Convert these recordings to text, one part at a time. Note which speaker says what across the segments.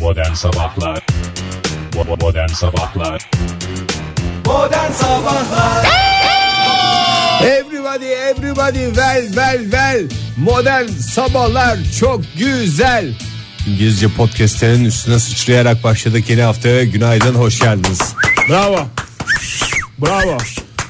Speaker 1: Modern Sabahlar Bo- Modern Sabahlar
Speaker 2: Modern Sabahlar
Speaker 3: Everybody everybody well well well Modern sabahlar çok güzel İngilizce podcastlerin üstüne sıçrayarak başladık yeni haftaya günaydın hoş geldiniz
Speaker 4: Bravo. Bravo.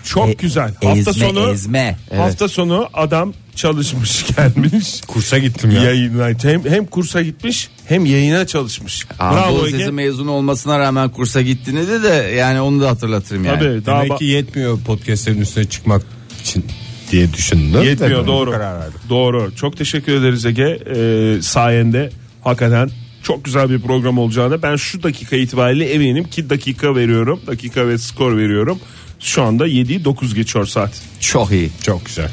Speaker 4: Çok
Speaker 5: E-
Speaker 4: güzel.
Speaker 5: ezme,
Speaker 4: hafta sonu
Speaker 5: ezme. Evet.
Speaker 4: Hafta sonu adam çalışmış gelmiş.
Speaker 3: Kursa gittim ya
Speaker 4: Yayına hem, hem kursa gitmiş hem yayına çalışmış. Bravo
Speaker 5: Anadolu Sesi
Speaker 4: Ege.
Speaker 5: mezun olmasına rağmen kursa gittiğini de, de yani onu da hatırlatırım yani.
Speaker 4: Tabii daha
Speaker 3: Demek
Speaker 4: ba-
Speaker 3: ki yetmiyor podcastlerin üstüne çıkmak için diye düşündüm
Speaker 4: yetmiyor
Speaker 3: Tabii,
Speaker 4: doğru.
Speaker 3: karar verdim.
Speaker 4: Doğru. Çok teşekkür ederiz Ege. Ee, sayende hakikaten çok güzel bir program olacağına ben şu dakika itibariyle eminim ki dakika veriyorum. Dakika ve skor veriyorum. Şu anda 7'yi 9 geçiyor saat.
Speaker 5: Çok iyi.
Speaker 3: Çok güzel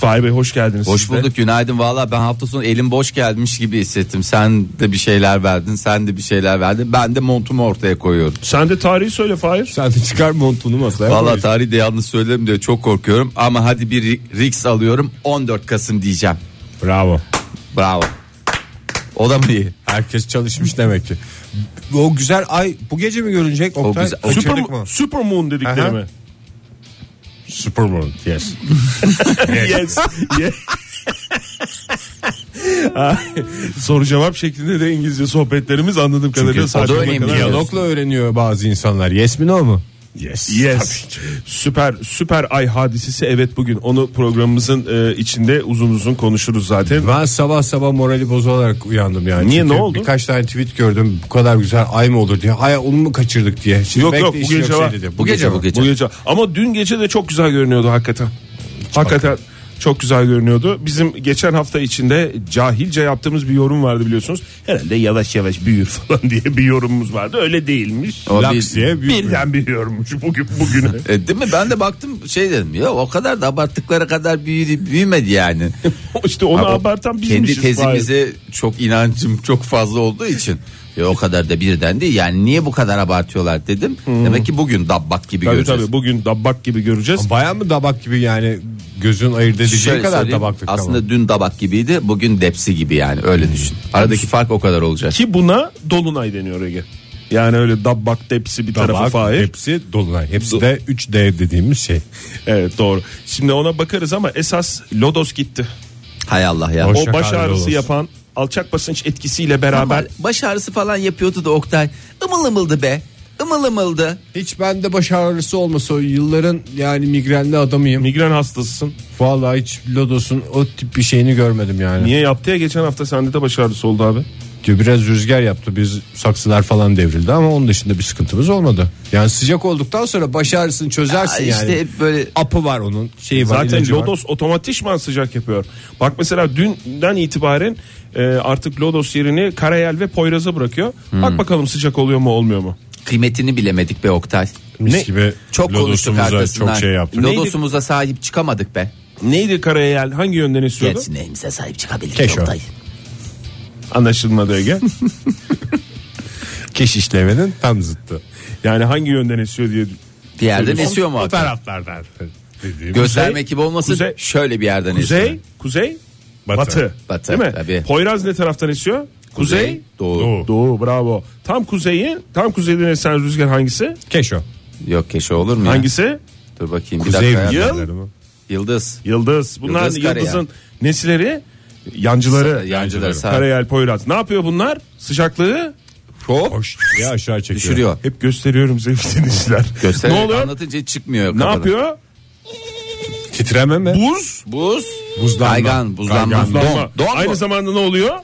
Speaker 4: Fahir Bey hoş geldiniz.
Speaker 5: Hoş
Speaker 4: siz de.
Speaker 5: bulduk günaydın valla ben hafta sonu elim boş gelmiş gibi hissettim. Sen de bir şeyler verdin sen de bir şeyler verdin ben de montumu ortaya koyuyorum.
Speaker 4: Sen de tarihi söyle Fahir.
Speaker 3: Sen de çıkar montunu masaya
Speaker 5: Valla
Speaker 3: koy.
Speaker 5: tarihi de yalnız söylerim diye çok korkuyorum ama hadi bir ri- risk alıyorum 14 Kasım diyeceğim.
Speaker 3: Bravo
Speaker 5: Bravo. O da mı iyi?
Speaker 3: Herkes çalışmış demek ki O güzel ay bu gece mi görünecek Oktay?
Speaker 5: güzel- o
Speaker 3: Kaçırdık
Speaker 4: Super,
Speaker 3: mı?
Speaker 4: Supermoon dedikleri
Speaker 3: Aha.
Speaker 4: mi?
Speaker 3: Supermoon yes
Speaker 4: yes. Yes. Soru cevap şeklinde de İngilizce sohbetlerimiz anladığım kadarıyla saat
Speaker 5: o da
Speaker 4: birine
Speaker 5: önemli.
Speaker 4: kadar-
Speaker 3: Diyalogla öğreniyor bazı insanlar yes mi no mu? Yes
Speaker 4: Yes. Süper süper ay hadisesi evet bugün onu programımızın e, içinde uzun uzun konuşuruz zaten.
Speaker 3: Ben sabah sabah morali bozularak uyandım yani.
Speaker 4: Niye,
Speaker 3: Çünkü
Speaker 4: ne oldu?
Speaker 3: Birkaç tane tweet gördüm. Bu kadar güzel ay mı olur diye. Ay onu mu kaçırdık diye. Şimdi
Speaker 4: Yok,
Speaker 3: belki
Speaker 4: yok,
Speaker 3: de şey
Speaker 4: bu
Speaker 3: işin
Speaker 4: gece var.
Speaker 3: şeydi.
Speaker 5: Bu gece, bu
Speaker 3: var.
Speaker 5: gece.
Speaker 4: Bu gece ama dün gece de çok güzel görünüyordu hakikaten. Hakikaten çok güzel görünüyordu. Bizim geçen hafta içinde cahilce yaptığımız bir yorum vardı biliyorsunuz. Herhalde yavaş yavaş büyür falan diye bir yorumumuz vardı. Öyle değilmiş.
Speaker 5: Ama
Speaker 3: Laks
Speaker 5: bir-
Speaker 3: diye büyük bir-
Speaker 4: Birden büyüyormuş bugün bugüne.
Speaker 5: E, değil mi? Ben de baktım şey dedim ya o kadar da abarttıkları kadar büyüdü, büyümedi yani.
Speaker 4: işte onu
Speaker 5: Ama
Speaker 4: abartan
Speaker 5: Kendi
Speaker 4: bizmişiz. Fahir.
Speaker 5: tezimize çok inancım çok fazla olduğu için. Ya o kadar da birden değil yani niye bu kadar abartıyorlar dedim. Demek ki bugün dabbak gibi
Speaker 4: Tabii
Speaker 5: göreceğiz.
Speaker 4: tabii bugün dabbak gibi göreceğiz.
Speaker 3: Baya mı dabak gibi yani gözün ayırt edeceği
Speaker 5: Şöyle
Speaker 3: kadar
Speaker 5: söyleyeyim,
Speaker 3: tabaklık
Speaker 5: aslında
Speaker 3: tamam.
Speaker 5: dün dabak gibiydi bugün depsi gibi yani öyle düşün. Aradaki fark o kadar olacak.
Speaker 4: Ki buna dolunay deniyor Ege. Yani öyle dabbak tepsi bir tarafı
Speaker 3: Tabak,
Speaker 4: fahir.
Speaker 3: hepsi dolunay. Hepsi de 3D dediğimiz şey.
Speaker 4: Evet doğru. Şimdi ona bakarız ama esas Lodos gitti.
Speaker 5: Hay Allah ya.
Speaker 3: Hoş
Speaker 4: o
Speaker 3: Hoşça
Speaker 4: baş
Speaker 3: kal
Speaker 4: ağrısı
Speaker 3: Lodos.
Speaker 4: yapan alçak basınç etkisiyle beraber
Speaker 5: Ama baş ağrısı falan yapıyordu da Oktay. Imıl ımıldı be. Imıl ımıldı.
Speaker 3: Hiç bende baş ağrısı olmasa o yılların yani migrenli adamıyım.
Speaker 4: migren hastasısın.
Speaker 3: Vallahi hiç Lodos'un o tip bir şeyini görmedim yani.
Speaker 4: Niye yaptı ya geçen hafta sende de baş ağrısı oldu abi.
Speaker 3: Diyor biraz rüzgar yaptı biz saksılar falan devrildi ama onun dışında bir sıkıntımız olmadı. Yani sıcak olduktan sonra baş ağrısını çözersin
Speaker 5: Aa, işte
Speaker 3: yani.
Speaker 5: hep böyle-
Speaker 3: apı var onun şeyi var.
Speaker 4: Zaten
Speaker 3: ilacı var.
Speaker 4: Lodos otomatikman sıcak yapıyor. Bak mesela dünden itibaren e, artık Lodos yerini Karayel ve Poyraz'a bırakıyor.
Speaker 3: Hmm.
Speaker 4: Bak bakalım sıcak oluyor mu olmuyor mu?
Speaker 5: Kıymetini bilemedik be Oktay.
Speaker 3: mis
Speaker 4: Ne-
Speaker 3: gibi
Speaker 5: Çok konuştuk
Speaker 3: Lodos'umuza
Speaker 5: arkasından.
Speaker 3: çok şey yaptık.
Speaker 5: Lodos'umuza sahip çıkamadık be.
Speaker 4: Neydi Karayel hangi yönden esiyordu?
Speaker 5: Gerçi neyimize sahip çıkabiliriz
Speaker 3: Keşo.
Speaker 5: Oktay.
Speaker 4: Anlaşılmadı Ege.
Speaker 3: Keşişlemenin tam zıttı.
Speaker 4: yani hangi yönden esiyor diye
Speaker 5: Bir yerden esiyor mu?
Speaker 3: O
Speaker 5: hakikaten?
Speaker 3: taraflardan. Dediğim
Speaker 5: Göstermek gibi olmasın.
Speaker 4: kuzey-
Speaker 5: şöyle bir yerden
Speaker 4: Kuzey,
Speaker 5: esiyor.
Speaker 4: kuzey,
Speaker 3: Batı.
Speaker 4: batı.
Speaker 5: Batı,
Speaker 4: Değil mi?
Speaker 5: tabii.
Speaker 4: Poyraz ne taraftan esiyor? Kuzey,
Speaker 5: Doğu.
Speaker 3: Doğu.
Speaker 4: doğu. Bravo. Tam kuzeyi, tam kuzeyden esen rüzgar hangisi?
Speaker 3: Keşo.
Speaker 5: Yok keşo olur mu? ya?
Speaker 4: Hangisi?
Speaker 5: Dur bakayım bir
Speaker 3: Kuzey
Speaker 5: dakika. ya.
Speaker 4: rüzgarı.
Speaker 3: rüzgarları mı?
Speaker 5: Yıldız.
Speaker 4: Yıldız. Bunlar
Speaker 5: Yıldız Karayel.
Speaker 4: yıldızın nesileri? Yancıları.
Speaker 5: Sa- yancıları, sağ-
Speaker 4: Karayel, Poyraz. Ne yapıyor bunlar? Sıcaklığı
Speaker 5: Hop.
Speaker 3: Hoş diye aşağı çekiyor.
Speaker 5: Düşürüyor.
Speaker 4: hep gösteriyorum sevgili dinleyiciler.
Speaker 5: Göstererek
Speaker 4: ne oluyor?
Speaker 5: anlatınca hiç çıkmıyor.
Speaker 4: Ne
Speaker 5: kafadan.
Speaker 4: yapıyor?
Speaker 3: Titreme mi?
Speaker 4: Buz,
Speaker 5: Buz.
Speaker 3: Buzlanma.
Speaker 5: Kaygan. Buzlanma.
Speaker 3: Kaygan.
Speaker 4: buzlanma.
Speaker 5: Don. Don
Speaker 4: Aynı
Speaker 5: mu?
Speaker 4: zamanda ne oluyor?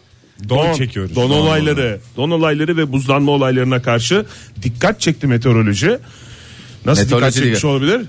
Speaker 3: Don çekiyoruz.
Speaker 4: Don
Speaker 3: Don
Speaker 4: olayları, don olayları ve buzlanma olaylarına karşı dikkat çekti meteoroloji. Nasıl dikkat
Speaker 5: Meteoroloji
Speaker 4: çekmiş
Speaker 5: diyor.
Speaker 4: olabilir?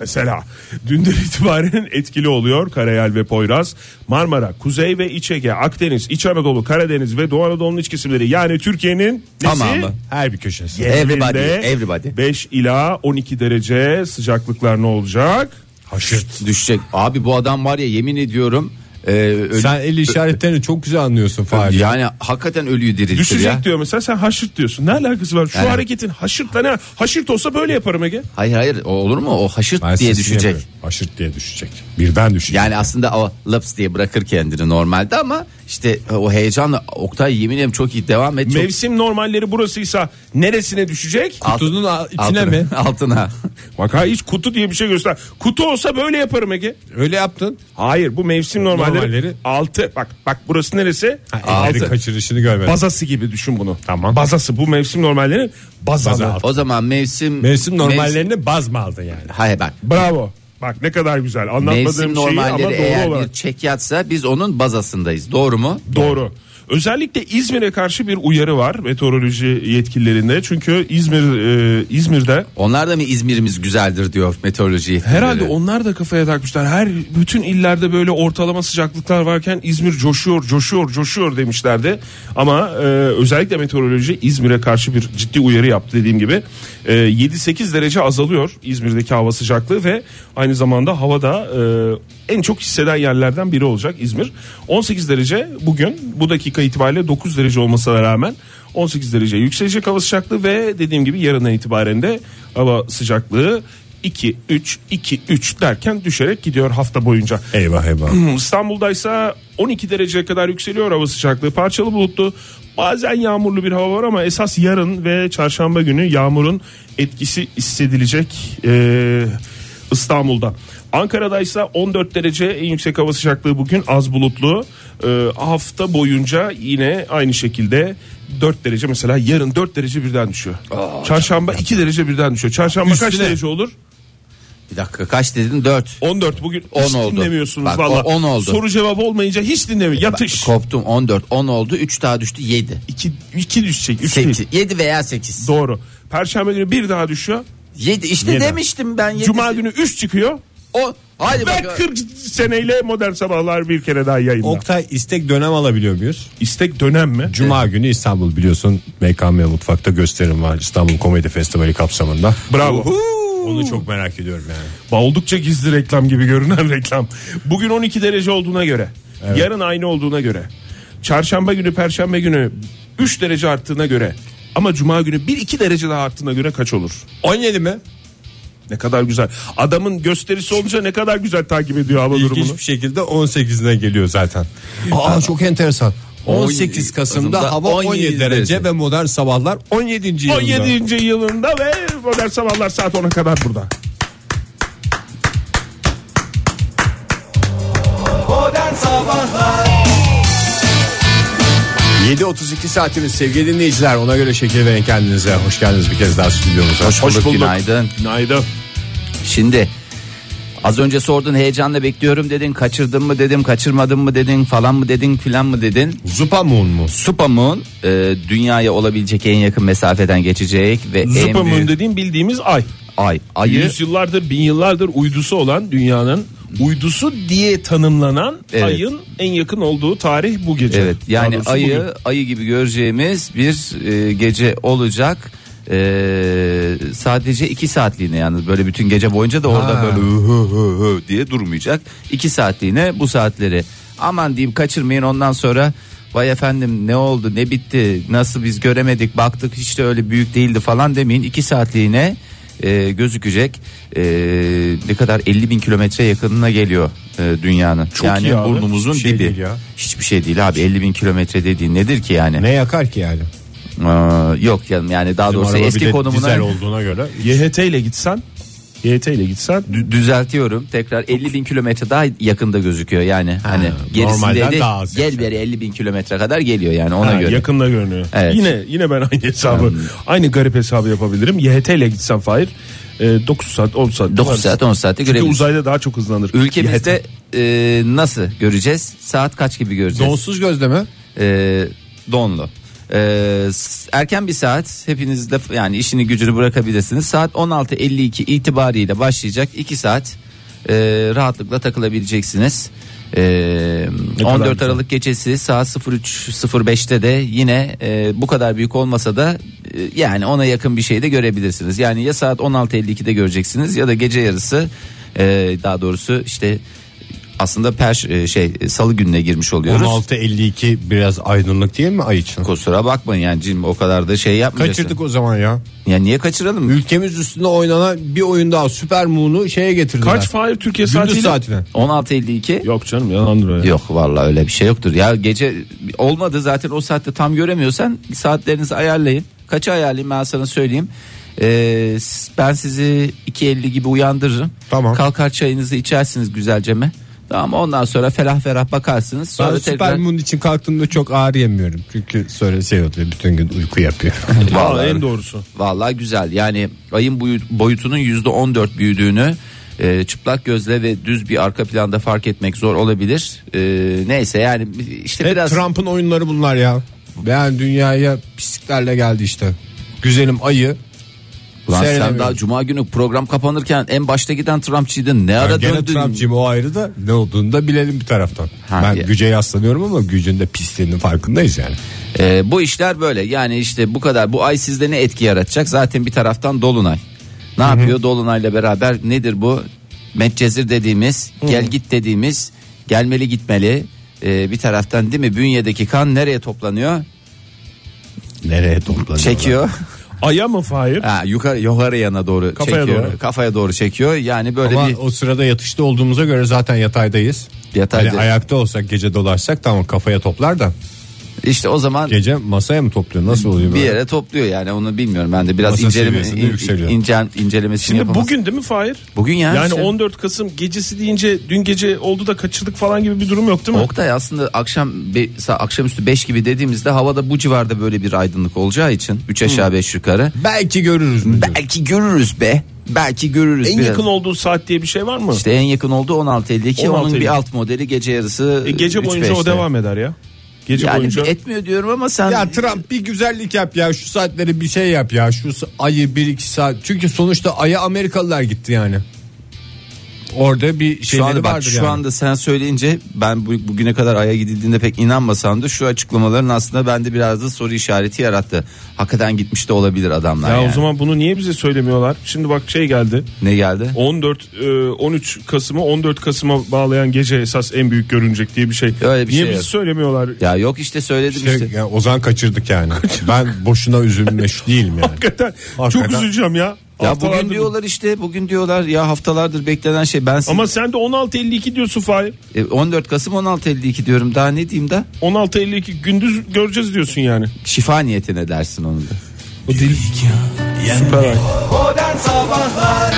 Speaker 4: Mesela dünden itibaren etkili oluyor Karayel ve Poyraz. Marmara, Kuzey ve İç Ege, Akdeniz, İç Anadolu, Karadeniz ve Doğu Anadolu'nun iç kesimleri yani Türkiye'nin nesi?
Speaker 5: Tamamı.
Speaker 3: Her bir köşesi.
Speaker 5: Everybody,
Speaker 4: Yerinde
Speaker 5: everybody.
Speaker 4: 5 ila 12 derece sıcaklıklar ne olacak?
Speaker 3: Haşırt.
Speaker 5: Düşecek. Abi bu adam var ya yemin ediyorum. e, ölü-
Speaker 3: Sen el işaretlerini çok güzel anlıyorsun Fahri.
Speaker 5: yani hakikaten ölüyü diriltir
Speaker 4: Düşecek
Speaker 5: ya.
Speaker 4: diyor mesela sen haşırt diyorsun. Ne alakası var? Şu
Speaker 5: Yani-
Speaker 4: hareketin haşırtla ne? Haşırt olsa böyle yaparım Ege.
Speaker 5: Hayır hayır o olur mu? O haşırt
Speaker 3: Ben
Speaker 5: diye
Speaker 3: sesini
Speaker 5: düşecek.
Speaker 3: yapıyorum.
Speaker 1: haşırt diye düşecek. Birden düşecek.
Speaker 5: Yani aslında o laps diye bırakır kendini normalde ama işte o heyecanla Oktay yemin ederim çok iyi devam et. Çok...
Speaker 4: Mevsim normalleri burasıysa neresine düşecek?
Speaker 5: Alt-
Speaker 1: Kutunun a- içine
Speaker 5: altına-
Speaker 1: mi?
Speaker 5: Altına.
Speaker 4: Bak ha hiç kutu diye bir şey göster. Kutu olsa böyle yaparım Ege.
Speaker 1: Öyle yaptın.
Speaker 4: Hayır bu mevsim normalleri,
Speaker 1: Normalleri.
Speaker 4: altı. Bak bak burası neresi?
Speaker 1: Elleri
Speaker 4: altı.
Speaker 1: kaçırışını görmedim.
Speaker 4: Bazası gibi düşün bunu. Tamam. Bazası bu mevsim normallerinin bazanı.
Speaker 1: Baza altı.
Speaker 5: o zaman mevsim...
Speaker 1: Mevsim
Speaker 5: mevsim-
Speaker 1: normallerini baz mı aldın yani?
Speaker 5: Hayır bak.
Speaker 4: Bravo. Bak ne kadar güzel. Anlatmadığım
Speaker 5: Mevsim
Speaker 4: şeyi ama doğru
Speaker 5: normalleri eğer
Speaker 4: olarak.
Speaker 5: bir çekyatsa biz onun bazasındayız. Doğru mu?
Speaker 4: Doğru. Özellikle İzmir'e karşı bir uyarı var meteoroloji yetkililerinde. Çünkü İzmir e, İzmir'de
Speaker 5: Onlar da mı İzmir'imiz güzeldir diyor meteoroloji yetkilileri.
Speaker 4: herhalde onlar da kafaya takmışlar. Her bütün illerde böyle ortalama sıcaklıklar varken İzmir coşuyor, coşuyor, coşuyor demişlerdi. Ama e, özellikle meteoroloji İzmir'e karşı bir ciddi uyarı yaptı dediğim gibi. E, 7-8 derece azalıyor İzmir'deki hava sıcaklığı ve aynı zamanda havada e, en çok hisseden yerlerden biri olacak İzmir. 18 derece bugün bu dakika itibariyle 9 derece olmasına rağmen 18 derece yükselecek hava sıcaklığı ve dediğim gibi yarından itibaren de hava sıcaklığı 2 3 2 3 derken düşerek gidiyor hafta boyunca.
Speaker 1: Eyvah eyvah.
Speaker 4: İstanbul'daysa 12 dereceye kadar yükseliyor hava sıcaklığı. Parçalı bulutlu. Bazen yağmurlu bir hava var ama esas yarın ve çarşamba günü yağmurun etkisi hissedilecek ee, İstanbul'da. Ankara'daysa 14 derece en yüksek hava sıcaklığı bugün az bulutlu. Ee, hafta boyunca yine aynı şekilde 4 derece mesela yarın 4 derece birden düşüyor. çarşamba 2 derece birden düşüyor. Çarşamba kaç
Speaker 1: Üstüne.
Speaker 4: derece olur?
Speaker 5: Bir dakika kaç dedin? Dört.
Speaker 4: 14 bugün
Speaker 5: 10
Speaker 4: hiç
Speaker 5: oldu.
Speaker 4: dinlemiyorsunuz
Speaker 5: Bak,
Speaker 4: valla.
Speaker 5: o- 10 oldu.
Speaker 4: Soru cevap olmayınca hiç dinlemiyor. Yatış.
Speaker 5: Koptum 14. 10 oldu. 3 daha düştü 7.
Speaker 4: 2 2 düşecek. 3 değil.
Speaker 5: 8. 7 veya 8.
Speaker 4: Doğru. Perşembe günü bir daha düşüyor.
Speaker 5: 7 işte
Speaker 4: Yedi.
Speaker 5: demiştim ben 7.
Speaker 4: Cuma günü 3 çıkıyor.
Speaker 5: O, hadi
Speaker 4: Ve
Speaker 5: bak.
Speaker 4: 40 seneyle modern sabahlar bir kere daha yayında.
Speaker 1: Oktay istek dönem alabiliyor muyuz?
Speaker 4: İstek dönem mi?
Speaker 1: Cuma günü İstanbul biliyorsun MKM Mutfak'ta gösterim var İstanbul Komedi Festivali kapsamında.
Speaker 4: Bravo.
Speaker 1: Onu çok merak ediyorum yani.
Speaker 4: Oldukça gizli reklam gibi görünen reklam. Bugün 12 derece olduğuna göre. Yarın aynı olduğuna göre. Çarşamba günü, perşembe günü 3 derece arttığına göre. Ama cuma günü 1-2 derece daha arttığına göre kaç olur?
Speaker 1: 17 mi?
Speaker 4: Ne kadar güzel. Adamın gösterisi olunca ne kadar güzel takip ediyor hava durumunu.
Speaker 1: İlginç bir şekilde 18'ine geliyor zaten. Aa çok enteresan. 18 Kasım'da
Speaker 5: Kasım'da
Speaker 1: hava 17, derece
Speaker 5: 17 derece.
Speaker 1: ve modern sabahlar 17. yılında.
Speaker 4: 17. yılında ve modern sabahlar saat 10'a kadar burada.
Speaker 2: Modern Sabahlar
Speaker 1: 7.32 saatimiz sevgili dinleyiciler ona göre şekil verin kendinize. Hoş geldiniz bir kez daha stüdyomuza. Hoş
Speaker 5: Günaydın.
Speaker 4: Günaydın.
Speaker 5: Şimdi az önce sordun heyecanla bekliyorum dedin. Kaçırdın mı dedim, kaçırmadın mı dedin falan mı dedin filan mı dedin.
Speaker 1: Zupa mı un mu?
Speaker 5: Supamın e, dünyaya olabilecek en yakın mesafeden geçecek ve en
Speaker 4: Zıpamın
Speaker 5: büyük
Speaker 4: dediğim bildiğimiz ay.
Speaker 5: ay ayı
Speaker 4: Yüzyıllardır, bin yıllardır uydusu olan dünyanın uydusu diye tanımlanan
Speaker 5: Evet.
Speaker 4: ayın en yakın olduğu tarih bu gece.
Speaker 5: Evet yani
Speaker 4: Daha doğrusu
Speaker 5: ayı
Speaker 4: bugün.
Speaker 5: ayı gibi göreceğimiz bir e, gece olacak. E, sadece iki saatliğine yalnız böyle bütün gece boyunca da orada böyle hı hı hı diye durmayacak. iki saatliğine bu saatleri aman diyeyim kaçırmayın ondan sonra vay efendim ne oldu ne bitti nasıl biz göremedik baktık hiç de öyle büyük değildi falan demeyin. iki saatliğine e, gözükecek E, ne kadar 50 bin kilometre yakınına geliyor e, dünyanın. yani
Speaker 4: iyi abi.
Speaker 5: burnumuzun
Speaker 1: Hiçbir şey
Speaker 5: dibi.
Speaker 1: değil ya.
Speaker 5: Hiçbir şey değil abi 50 bin kilometre dediğin nedir ki yani?
Speaker 1: Ne yakar ki yani?
Speaker 5: Aa, yok canım yani daha doğrusu
Speaker 1: Araba bir de
Speaker 5: eski
Speaker 1: dizel
Speaker 5: konumuna
Speaker 1: olduğuna göre.
Speaker 4: YHT ile gitsen, YHT ile gitsen
Speaker 5: Dü- düzeltiyorum tekrar 50 bin kilometre daha yakında gözüküyor yani hani gerisinde
Speaker 1: normalden
Speaker 5: de
Speaker 1: daha az
Speaker 5: gel beri 50 bin kilometre kadar geliyor yani ona
Speaker 4: Ha,
Speaker 5: göre.
Speaker 4: yakında görünüyor.
Speaker 5: Evet. Hmm.
Speaker 4: Yine yine ben aynı hesabı, aynı garip hesabı yapabilirim. YHT ile gitsem Fahir, e, 9 saat, 10 saat.
Speaker 5: 9 saat 10 saatte
Speaker 4: Çünkü
Speaker 5: görebiliriz.
Speaker 4: uzayda daha çok hızlanır. YHT.
Speaker 5: Ülkemizde e, nasıl göreceğiz? Saat kaç gibi göreceğiz?
Speaker 1: Donsuz gözle mi?
Speaker 5: e, donlu. E, s- erken bir saat hepiniz de yani işini gücünü bırakabilirsiniz. Saat 16.52 itibariyle başlayacak 2 saat e, rahatlıkla takılabileceksiniz. E,
Speaker 4: kadar
Speaker 5: 14
Speaker 4: güzel.
Speaker 5: Aralık gecesi saat 03.05'te de yine e, bu kadar büyük olmasa da e, yani ona yakın bir şey de görebilirsiniz. Yani ya saat 16.52'de göreceksiniz ya da gece yarısı e, daha doğrusu ee, işte aslında perş e, şey e, salı gününe girmiş oluyoruz.
Speaker 1: 16.52 biraz aydınlık değil mi ay için?
Speaker 5: Kusura bakmayın yani cim o kadar da şey yapmayacağız.
Speaker 1: Kaçırdık o zaman ya.
Speaker 5: Ya niye kaçıralım?
Speaker 1: Ülkemiz üstünde oynanan bir oyun daha Süper Moon'u şeye getirdiler.
Speaker 4: Kaç Fahir Türkiye
Speaker 1: Gündüz
Speaker 4: saatiyle?
Speaker 1: saatine.
Speaker 5: 16.52
Speaker 4: Yok canım yalandır o ya.
Speaker 5: Yok vallahi öyle bir şey yoktur. Ya gece olmadı zaten o saatte tam göremiyorsan saatlerinizi ayarlayın. Kaça ayarlayayım ben sana söyleyeyim. Ee, s- ben sizi 2.50 gibi uyandırırım.
Speaker 1: Tamam.
Speaker 5: Kalkar çayınızı içersiniz güzelceme. Tamam ondan sonra ferah ferah bakarsınız.
Speaker 1: Ben
Speaker 5: Sonra
Speaker 1: Süper
Speaker 5: tekrar...
Speaker 1: Moon için kalktığımda çok ağır yemiyorum. Çünkü sonra şey oluyor bütün gün uyku yapıyor.
Speaker 4: Vallahi en doğrusu.
Speaker 5: Vallahi güzel. Yani ayın boyu- boyutunun yüzde 14 büyüdüğünü e, çıplak gözle ve düz bir arka planda fark etmek zor olabilir. E, neyse yani işte
Speaker 1: Hep
Speaker 5: biraz
Speaker 1: Trump'ın oyunları bunlar ya. Ben dünyaya pisliklerle geldi işte. Güzelim ayı.
Speaker 5: Ulan sen
Speaker 1: Seyredemiyorum.
Speaker 5: daha cuma günü program kapanırken en başta giden Trumpçıydın. Ne
Speaker 1: Ben
Speaker 5: ara
Speaker 1: gene
Speaker 5: döndün?
Speaker 1: Trump'cıyım o ayrı da ne olduğunu da bilelim bir taraftan.
Speaker 5: Ha,
Speaker 1: ben
Speaker 5: ya.
Speaker 1: güce yaslanıyorum ama gücün de pisliğinin farkındayız yani.
Speaker 5: Ee, bu işler böyle. Yani işte bu kadar. Bu ay sizde ne etki yaratacak? Zaten bir taraftan dolunay. Ne yapıyor dolunayla beraber? Nedir bu? Medcezir dediğimiz, gel git dediğimiz, gelmeli gitmeli. Ee, bir taraftan değil mi? Bünyedeki kan nereye toplanıyor?
Speaker 1: Nereye toplanıyorlar?
Speaker 5: Çekiyor.
Speaker 4: Aya mı Fahir?
Speaker 5: Ha, yukarı yukarı yana doğru
Speaker 4: Kafaya
Speaker 5: çekiyor.
Speaker 4: doğru.
Speaker 5: Kafaya doğru çekiyor. Yani böyle
Speaker 1: Ama
Speaker 5: bir
Speaker 1: o sırada yatışta olduğumuza göre zaten yataydayız.
Speaker 5: Yatayda.
Speaker 1: Hani ayakta olsak gece dolaşsak tamam kafaya toplar da
Speaker 5: işte o zaman
Speaker 1: gece masaya mı topluyor nasıl oluyor
Speaker 5: bir
Speaker 1: Şey böyle?
Speaker 5: yere topluyor yani onu bilmiyorum ben de biraz
Speaker 1: Masa
Speaker 5: inceleme,
Speaker 1: seviyesinde
Speaker 5: in-
Speaker 1: yükseliyor.
Speaker 5: incen, incelemesini
Speaker 4: Şimdi
Speaker 5: yapamaz.
Speaker 4: bugün değil mi Fahir?
Speaker 5: Bugün ya
Speaker 4: Yani
Speaker 5: işte.
Speaker 4: 14 Kasım gecesi deyince dün gece oldu da kaçırdık falan gibi bir durum yok değil mi?
Speaker 5: Oktay aslında akşam be- sa- akşamüstü 5 gibi dediğimizde havada bu civarda böyle bir aydınlık olacağı için 3 aşağı 5 yukarı.
Speaker 1: Belki görürüz. mü diyor.
Speaker 5: Belki görürüz be. Belki görürüz
Speaker 4: en
Speaker 5: biraz.
Speaker 4: yakın olduğu saat diye bir şey var mı?
Speaker 5: işte en yakın olduğu 16.52 onun
Speaker 4: 16.52.
Speaker 5: bir alt modeli gece yarısı.
Speaker 4: E, gece
Speaker 5: 3.5'te.
Speaker 4: boyunca o devam eder ya. Gece
Speaker 5: Yani
Speaker 4: boyunca.
Speaker 5: etmiyor diyorum ama sen
Speaker 1: Ya Trump bir güzellik yap ya şu saatleri bir şey yap ya şu sa- ayı bir iki saat çünkü sonuçta aya Amerikalılar gitti yani. Orada bir
Speaker 5: şu
Speaker 1: şeyleri
Speaker 5: anda bak
Speaker 1: vardır
Speaker 5: şu
Speaker 1: yani.
Speaker 5: anda sen söyleyince ben bu, bugüne kadar aya gidildiğinde pek inanmasam da şu açıklamaların aslında bende biraz da soru işareti yarattı. Hakikaten gitmiş de olabilir adamlar.
Speaker 4: ya
Speaker 5: yani.
Speaker 4: o zaman bunu niye bize söylemiyorlar? Şimdi bak şey geldi.
Speaker 5: ne geldi?
Speaker 4: 14 e, 13 Kasım'ı 14 Kasım'a bağlayan gece esas en büyük görünecek diye bir şey.
Speaker 5: Öyle bir
Speaker 4: niye
Speaker 5: şey
Speaker 4: bizi
Speaker 5: yok.
Speaker 4: söylemiyorlar?
Speaker 5: Ya yok işte söyledim
Speaker 1: Şey,
Speaker 5: işte.
Speaker 1: yani Ozan kaçırdık yani. ben boşuna üzülmüş değilim yani.
Speaker 4: Hakikaten,
Speaker 1: Hakikaten.
Speaker 4: çok üzüleceğim ya.
Speaker 5: Ya
Speaker 4: Haftalardır
Speaker 5: bugün
Speaker 4: bu-
Speaker 5: diyorlar işte bugün diyorlar ya haftalardır beklenen şey ben
Speaker 4: Ama sen de 16.52 diyorsun Fahir.
Speaker 5: E, 14 Kasım 16.52 diyorum daha ne diyeyim da
Speaker 4: 16.52 gündüz göreceğiz diyorsun yani.
Speaker 5: şifa niyetine dersin onu da.
Speaker 2: Modern Sabahlar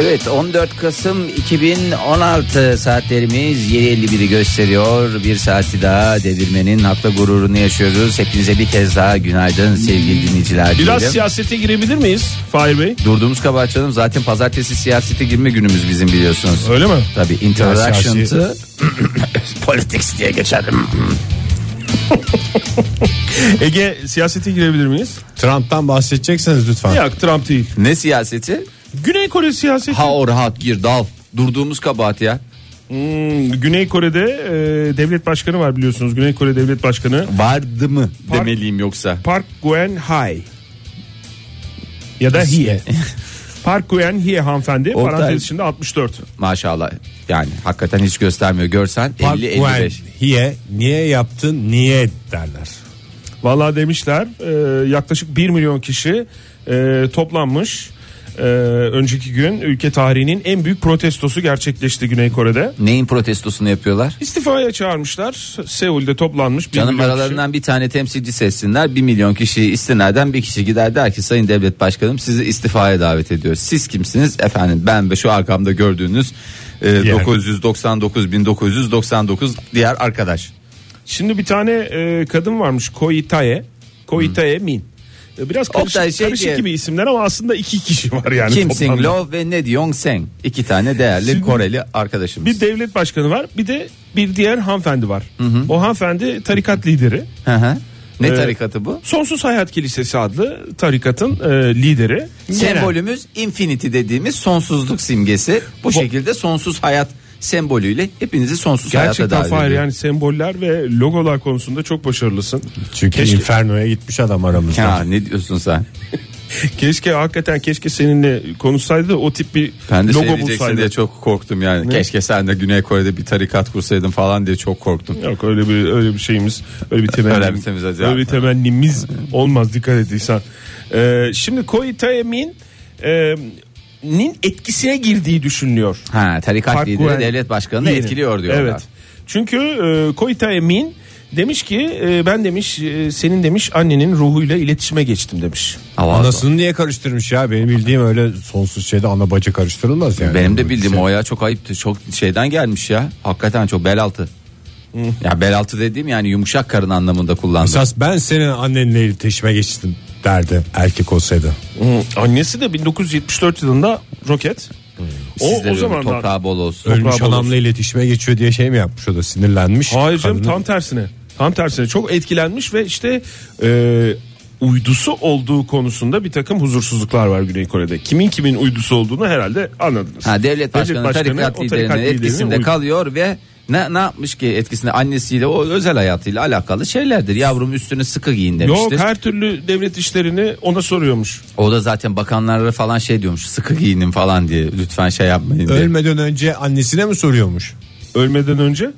Speaker 5: Evet 14 Kasım 2016 saatlerimiz 7.51'i gösteriyor. Bir saati daha devirmenin hatta gururunu yaşıyoruz. Hepinize bir kez daha günaydın sevgili dinleyiciler.
Speaker 4: Biraz
Speaker 5: diyelim.
Speaker 4: siyasete girebilir miyiz Fahir Bey?
Speaker 5: Durduğumuz kabahat canım zaten pazartesi siyasete girme günümüz bizim biliyorsunuz.
Speaker 4: Öyle mi?
Speaker 5: Tabii
Speaker 1: Ya
Speaker 5: interaction
Speaker 1: siyasi-
Speaker 5: to politics diye geçerim.
Speaker 4: Ege siyasete girebilir miyiz?
Speaker 1: Trump'tan bahsedecekseniz lütfen.
Speaker 4: Yok Trump değil.
Speaker 5: Ne siyaseti?
Speaker 4: Güney Kore siyaseti.
Speaker 5: Ha o rahat gir dal. Durduğumuz kabahat ya.
Speaker 4: Hmm, Güney Kore'de e, devlet başkanı var biliyorsunuz. Güney Kore devlet başkanı
Speaker 5: Vardı mı
Speaker 4: Park-
Speaker 5: demeliyim yoksa.
Speaker 4: Park Geun-hye. Ya da Hye. Park Geun-hye hanımefendi.
Speaker 5: Oktay.
Speaker 4: Parantez içinde 64.
Speaker 5: Maşallah. Yani hakikaten hiç göstermiyor. Görsen
Speaker 1: Park
Speaker 5: 50 55.
Speaker 1: Niye? Niye yaptın? Niye derler.
Speaker 4: Vallahi demişler e, yaklaşık 1 milyon kişi e, toplanmış. E, önceki gün ülke tarihinin en büyük protestosu gerçekleşti Güney Kore'de.
Speaker 5: Neyin protestosunu yapıyorlar?
Speaker 4: İstifaya çağırmışlar. Seul'de toplanmış. bir
Speaker 5: Canım
Speaker 4: milyon kişi.
Speaker 5: aralarından bir tane temsilci seçsinler. 1 milyon kişiyi istinaden bir kişi gider der ki Sayın Devlet Başkanım sizi istifaya davet ediyoruz. Siz kimsiniz? Efendim ben ve şu arkamda gördüğünüz e, 999.999 diğer arkadaş.
Speaker 4: Şimdi bir tane e, kadın varmış Koitae. Koitae Min. E, Biraz karışık,
Speaker 5: Oktay şey
Speaker 4: karışık
Speaker 5: diye-
Speaker 4: gibi isimler ama aslında iki kişi var yani.
Speaker 5: Kim
Speaker 4: toplamda.
Speaker 5: Sing Lo ve Ne Yong Seng. İki tane değerli
Speaker 4: Şimdi-
Speaker 5: Koreli arkadaşımız.
Speaker 4: Bir devlet başkanı var bir de bir diğer hanımefendi var. O hanımefendi tarikat lideri.
Speaker 5: Hı hı. Ne
Speaker 4: Ee,
Speaker 5: tarikatı bu?
Speaker 4: Sonsuz Hayat Kilisesi adlı tarikatın e, lideri.
Speaker 5: Sembolümüz infinity dediğimiz sonsuzluk simgesi. Bu şekilde sonsuz hayat sembolüyle hepinizi sonsuz
Speaker 4: Gerçekten
Speaker 5: hayata davet
Speaker 4: Fahir
Speaker 5: ediyor.
Speaker 4: yani semboller ve logolar konusunda çok başarılısın.
Speaker 1: Çünkü
Speaker 4: Keşke-
Speaker 1: Inferno'ya gitmiş adam aramızda.
Speaker 5: Ya ne diyorsun sen?
Speaker 4: keşke hakikaten keşke seninle konuşsaydı da o tip bir
Speaker 5: Ben de şey
Speaker 4: logo
Speaker 5: diyeceksin
Speaker 4: bulsaydı.
Speaker 5: diye çok korktum yani. Keşke sen de Güney Kore'de bir tarikat kursaydın falan diye çok korktum.
Speaker 4: Yok öyle bir öyle bir şeyimiz öyle bir temennimiz
Speaker 5: Öyle bir temiz hadi
Speaker 4: öyle bir
Speaker 5: yapma.
Speaker 4: temennimiz olmaz dikkat ettiysen. Ee, şimdi Koitayamin e, nin etkisine girdiği düşünülüyor.
Speaker 5: Ha tarikat
Speaker 4: Park
Speaker 5: lideri
Speaker 4: Güven-
Speaker 5: devlet başkanını
Speaker 4: Lideri.
Speaker 5: etkiliyor diyorlar.
Speaker 4: Evet. Çünkü e, Koita Emin demiş ki e, ben demiş e, senin demiş annenin ruhuyla iletişime geçtim demiş.
Speaker 5: Hava-
Speaker 1: Anasını niye karıştırmış ya? Benim bildiğim öyle sonsuz şeyde ana bacı karıştırılmaz yani.
Speaker 5: Benim de
Speaker 4: şey.
Speaker 5: bildiğim o ya çok ayıptı. Çok şeyden gelmiş ya. Hakikaten çok bel altı.
Speaker 4: Hmm.
Speaker 5: Ya bel altı dediğim yani yumuşak karın anlamında kullandım.
Speaker 1: Esas ben senin annenle iletişime geçtim derdi erkek olsaydı.
Speaker 4: Annesi de 1974 yılında roket.
Speaker 5: Sizde
Speaker 4: O, o
Speaker 5: diyorum,
Speaker 4: zamandan.
Speaker 5: toprağı bol olsun.
Speaker 1: Ölmüş
Speaker 4: bol
Speaker 1: anamla iletişime geçiyor diye şey mi yapmış o da sinirlenmiş.
Speaker 4: Hayır canım
Speaker 1: Kadını-
Speaker 4: tam tersine. Tam tersine çok etkilenmiş ve işte e, uydusu olduğu konusunda bir takım huzursuzluklar var Güney Kore'de. Kimin kimin uydusu olduğunu herhalde anladınız.
Speaker 5: Ha devlet başkanı, tarikat
Speaker 4: o
Speaker 5: liderinin etkisinde
Speaker 4: uydu.
Speaker 5: kalıyor ve ne, ne yapmış ki etkisinde annesiyle o özel hayatıyla alakalı şeylerdir. Yavrum üstünü sıkı giyin
Speaker 4: Yok
Speaker 5: demiştir.
Speaker 4: her türlü devlet işlerini ona soruyormuş.
Speaker 5: O da zaten bakanlara falan şey diyormuş. Sıkı giyinin falan diye lütfen şey yapmayın diye.
Speaker 1: Ölmeden önce annesine mi soruyormuş?
Speaker 4: Ölmeden önce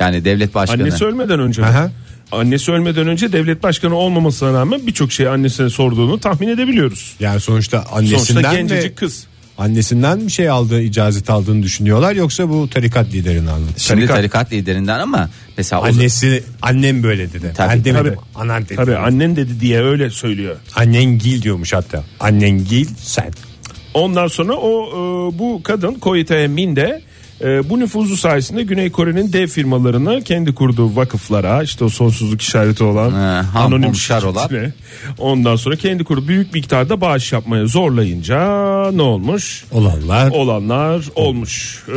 Speaker 5: Yani devlet başkanı.
Speaker 4: Annesi ölmeden önce. mi?
Speaker 1: Aha.
Speaker 4: Annesi ölmeden önce devlet başkanı olmamasına rağmen birçok şeyi annesine sorduğunu tahmin edebiliyoruz.
Speaker 1: Yani sonuçta
Speaker 4: Sonuçta
Speaker 1: annesinden
Speaker 4: gencecik
Speaker 1: mi,
Speaker 4: kız.
Speaker 1: annesinden mi şey aldığı icazet aldığını düşünüyorlar yoksa bu tarikat liderini aldı.
Speaker 5: Şimdi tarikat,
Speaker 4: Tarikat.
Speaker 5: liderinden ama mesela o-
Speaker 1: Annesi annem böyle dedi.
Speaker 5: Tabii,
Speaker 1: ben demedim.
Speaker 4: tabii.
Speaker 1: Anan dedi.
Speaker 4: Tabii annen dedi diye öyle söylüyor.
Speaker 1: Annen gil diyormuş hatta. Annen gil sen.
Speaker 4: Ondan sonra o e, bu kadın Koyte Min de e, bu nüfuzu sayesinde Güney Kore'nin dev firmalarını kendi kurduğu vakıflara işte o sonsuzluk işareti olan
Speaker 5: Ha, ham
Speaker 4: anonim
Speaker 5: hemşer olan.
Speaker 4: şirketine, ondan sonra kendi kuru büyük miktarda bağış yapmaya zorlayınca ne olmuş?
Speaker 1: Olanlar.
Speaker 4: olanlar olmuş. Ee,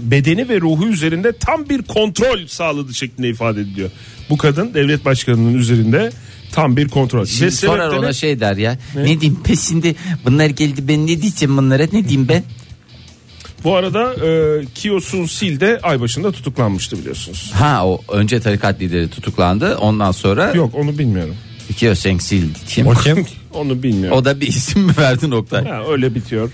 Speaker 4: bedeni ve ruhu üzerinde tam bir kontrol sağladı şeklinde ifade ediliyor. Bu kadın devlet başkanının üzerinde tam bir kontrol.
Speaker 5: Şimdi
Speaker 4: Ve
Speaker 5: sorar
Speaker 4: sebepleri-
Speaker 5: ona şey der ya. Ne, diyeyim pe şimdi bunlar geldi ben ne diyeceğim bunlara ne diyeyim ben?
Speaker 4: Bu arada e, Kyo Sun Sil de ay başında tutuklanmıştı biliyorsunuz.
Speaker 5: Ha o önce tarikat lideri tutuklandı ondan sonra
Speaker 4: Yok onu bilmiyorum.
Speaker 5: iki Sengsil kim?
Speaker 1: O kim?
Speaker 4: Onu bilmiyorum.
Speaker 5: O da bir isim mi verdi Oktay?
Speaker 4: Ha, öyle bitiyor.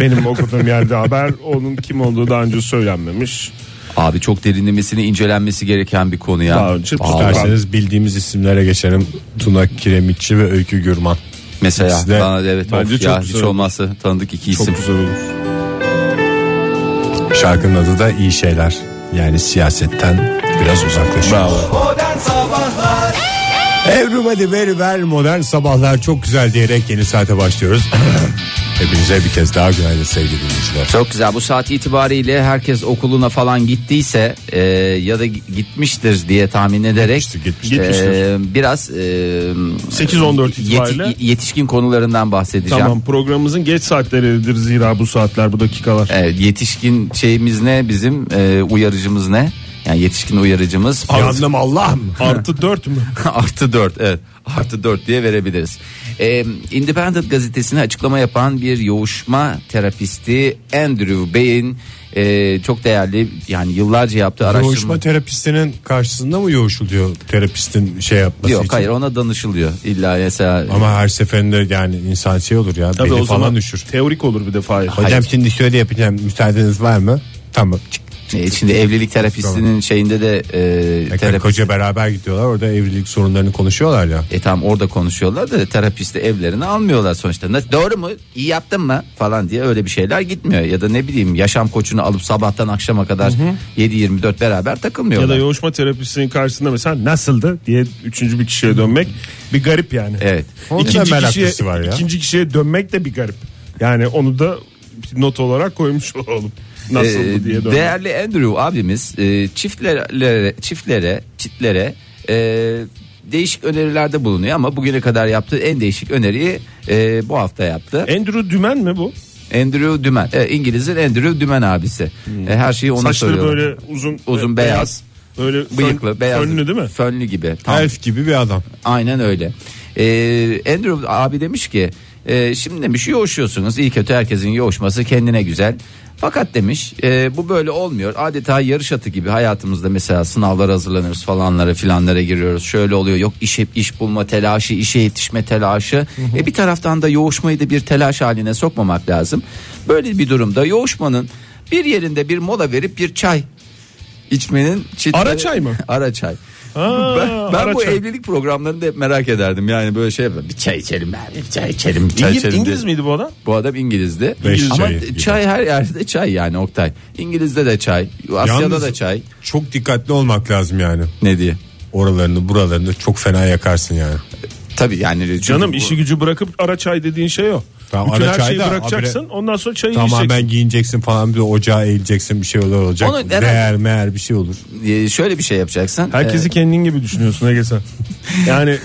Speaker 4: Benim okuduğum yerde haber onun kim olduğu daha önce söylenmemiş.
Speaker 5: Abi çok derinlemesine incelenmesi gereken bir konu ya.
Speaker 4: Daha önce
Speaker 5: Vallahi.
Speaker 4: tutar-
Speaker 1: Derseniz bildiğimiz isimlere geçelim. Tuna Kiremitçi ve Öykü Gürman.
Speaker 5: Mesela
Speaker 1: İkisi de-
Speaker 5: bana da evet
Speaker 4: Bence
Speaker 5: of ya
Speaker 4: çok
Speaker 5: hiç
Speaker 4: güzel olur.
Speaker 5: olmazsa tanıdık iki isim.
Speaker 4: Çok güzel olur.
Speaker 1: Şarkının adı da iyi şeyler. Yani siyasetten biraz uzaklaşıyoruz.
Speaker 2: Modern Sabahlar
Speaker 1: Everybody very well modern sabahlar çok güzel diyerek yeni saate başlıyoruz. Hepinize bir kez daha günaydın sevgili dinleyiciler.
Speaker 5: Çok güzel bu saat itibariyle herkes okuluna falan gittiyse e, ya da gitmiştir diye tahmin ederek
Speaker 1: Gitmiştir, gitmiştir.
Speaker 5: e, biraz e,
Speaker 4: 8-14 itibariyle-
Speaker 5: yeti- yetişkin konularından bahsedeceğim.
Speaker 4: Tamam programımızın geç saatleridir zira bu saatler bu dakikalar.
Speaker 5: Evet, yetişkin şeyimiz ne bizim e, uyarıcımız ne? Yani yetişkin uyarıcımız
Speaker 1: Yandım Allah'ım.
Speaker 4: Artı 4 mü?
Speaker 5: artı 4 evet artı 4 diye verebiliriz. Ee, Independent gazetesine açıklama yapan bir yoğuşma terapisti Andrew Bey'in e, çok değerli yani yıllarca yaptığı araştırma.
Speaker 1: Yoğuşma terapistinin karşısında mı yoğuşuluyor terapistin şey yapması
Speaker 5: Yok
Speaker 1: için?
Speaker 5: hayır ona danışılıyor illa mesela
Speaker 1: Ama her seferinde yani insan şey olur ya
Speaker 4: Tabii
Speaker 1: beli
Speaker 4: o
Speaker 1: falan
Speaker 4: zaman
Speaker 1: üşür.
Speaker 4: teorik olur bir de Fahir.
Speaker 1: Hocam şimdi şöyle yapacağım müsaadeniz var mı? Tamam. Çık.
Speaker 5: e, şimdi evlilik terapistinin şeyinde de e,
Speaker 1: Yani
Speaker 5: terapist,
Speaker 1: Koca beraber gidiyorlar orada evlilik sorunlarını konuşuyorlar ya.
Speaker 5: e tamam orada konuşuyorlar da terapisti evlerini almıyorlar sonuçta. Nasıl, doğru mu? İyi yaptın mı? Falan diye öyle bir şeyler gitmiyor. Ya da ne bileyim yaşam koçunu alıp sabahtan akşama kadar 7-24 beraber
Speaker 4: Ya
Speaker 5: takılmıyorlar.
Speaker 4: da yoğuşma terapisinin karşısında mesela nasıldı diye üçüncü bir kişiye dönmek bir garip yani.
Speaker 5: Evet.
Speaker 1: Onun da
Speaker 4: İkinci
Speaker 1: meraklısı
Speaker 4: kişiye,
Speaker 1: var ya.
Speaker 4: ikinci kişiye dönmek de bir garip. Yani onu da bir not olarak koymuş olalım. Nasıldı
Speaker 5: Ee,
Speaker 4: diye dönmek.
Speaker 5: değerli Andrew abimiz e, çiftlere çiftlere çitlere e, değişik önerilerde bulunuyor ama bugüne kadar yaptığı en değişik öneriyi e, bu hafta yaptı.
Speaker 4: Andrew Dümen mi bu?
Speaker 5: Andrew Dümen e, İngiliz'in Andrew Dümen abisi. E, her şeyi ona
Speaker 4: Saçları
Speaker 5: soruyorlar.
Speaker 4: böyle uzun,
Speaker 5: Uzun,
Speaker 4: e,
Speaker 5: beyaz.
Speaker 4: Böyle fön-
Speaker 5: bıyıklı beyaz
Speaker 4: Fönlü değil mi?
Speaker 5: Fönlü gibi. Tam
Speaker 1: Elf gibi bir adam.
Speaker 5: Aynen öyle. Ee, Andrew abi demiş ki e, şimdi demiş yoğuşuyorsunuz iyi kötü herkesin yoğuşması kendine güzel. Fakat demiş e, bu böyle olmuyor. Adeta yarış atı gibi hayatımızda mesela sınavlara hazırlanırız falanlara filanlara giriyoruz. Şöyle oluyor yok iş, iş bulma telaşı, işe yetişme telaşı. E, bir taraftan da yoğuşmayı da bir telaş haline sokmamak lazım. Böyle bir durumda yoğuşmanın bir yerinde bir mola verip bir çay içmenin çitleri-
Speaker 4: Ara çay mı?
Speaker 5: ara çay.
Speaker 4: Aa,
Speaker 5: Ben, ben
Speaker 4: ara
Speaker 5: bu
Speaker 4: çay.
Speaker 5: evlilik programlarını da hep merak ederdim. Yani böyle şey yapalım. Bir çay içelim bari. Bir çay içelim. Bir çay
Speaker 4: İngiliz,
Speaker 5: içelim
Speaker 4: İngiliz
Speaker 5: diye.
Speaker 4: miydi bu adam?
Speaker 5: Bu adam İngilizdi.
Speaker 1: Beş
Speaker 5: Ama
Speaker 1: çayı gibi.
Speaker 5: çay her yerde çay yani Oktay. İngiliz'de de çay. Asya'da
Speaker 1: Yalnız-
Speaker 5: da çay.
Speaker 1: Çok dikkatli olmak lazım yani.
Speaker 5: Ne diye?
Speaker 1: Oralarını buralarını çok fena yakarsın yani.
Speaker 5: Tabii yani. çünkü
Speaker 4: Canım
Speaker 5: bu-
Speaker 4: işi gücü bırakıp ara çay dediğin şey o.
Speaker 1: Tamam,
Speaker 4: Bütün
Speaker 1: ara
Speaker 4: her
Speaker 1: çay
Speaker 4: şeyi
Speaker 1: da
Speaker 4: bırakacaksın
Speaker 1: habire-
Speaker 4: ondan sonra çayı içeceksin.
Speaker 1: Tamamen giyineceksin falan bir de ocağa eğileceksin bir şeyler olacak.
Speaker 5: Onu neden-
Speaker 1: Değer meğer bir şey olur.
Speaker 5: e, şöyle bir şey yapacaksın.
Speaker 4: Herkesi
Speaker 6: Ee,
Speaker 5: E,
Speaker 4: kendin gibi düşünüyorsun Ege sen. Yani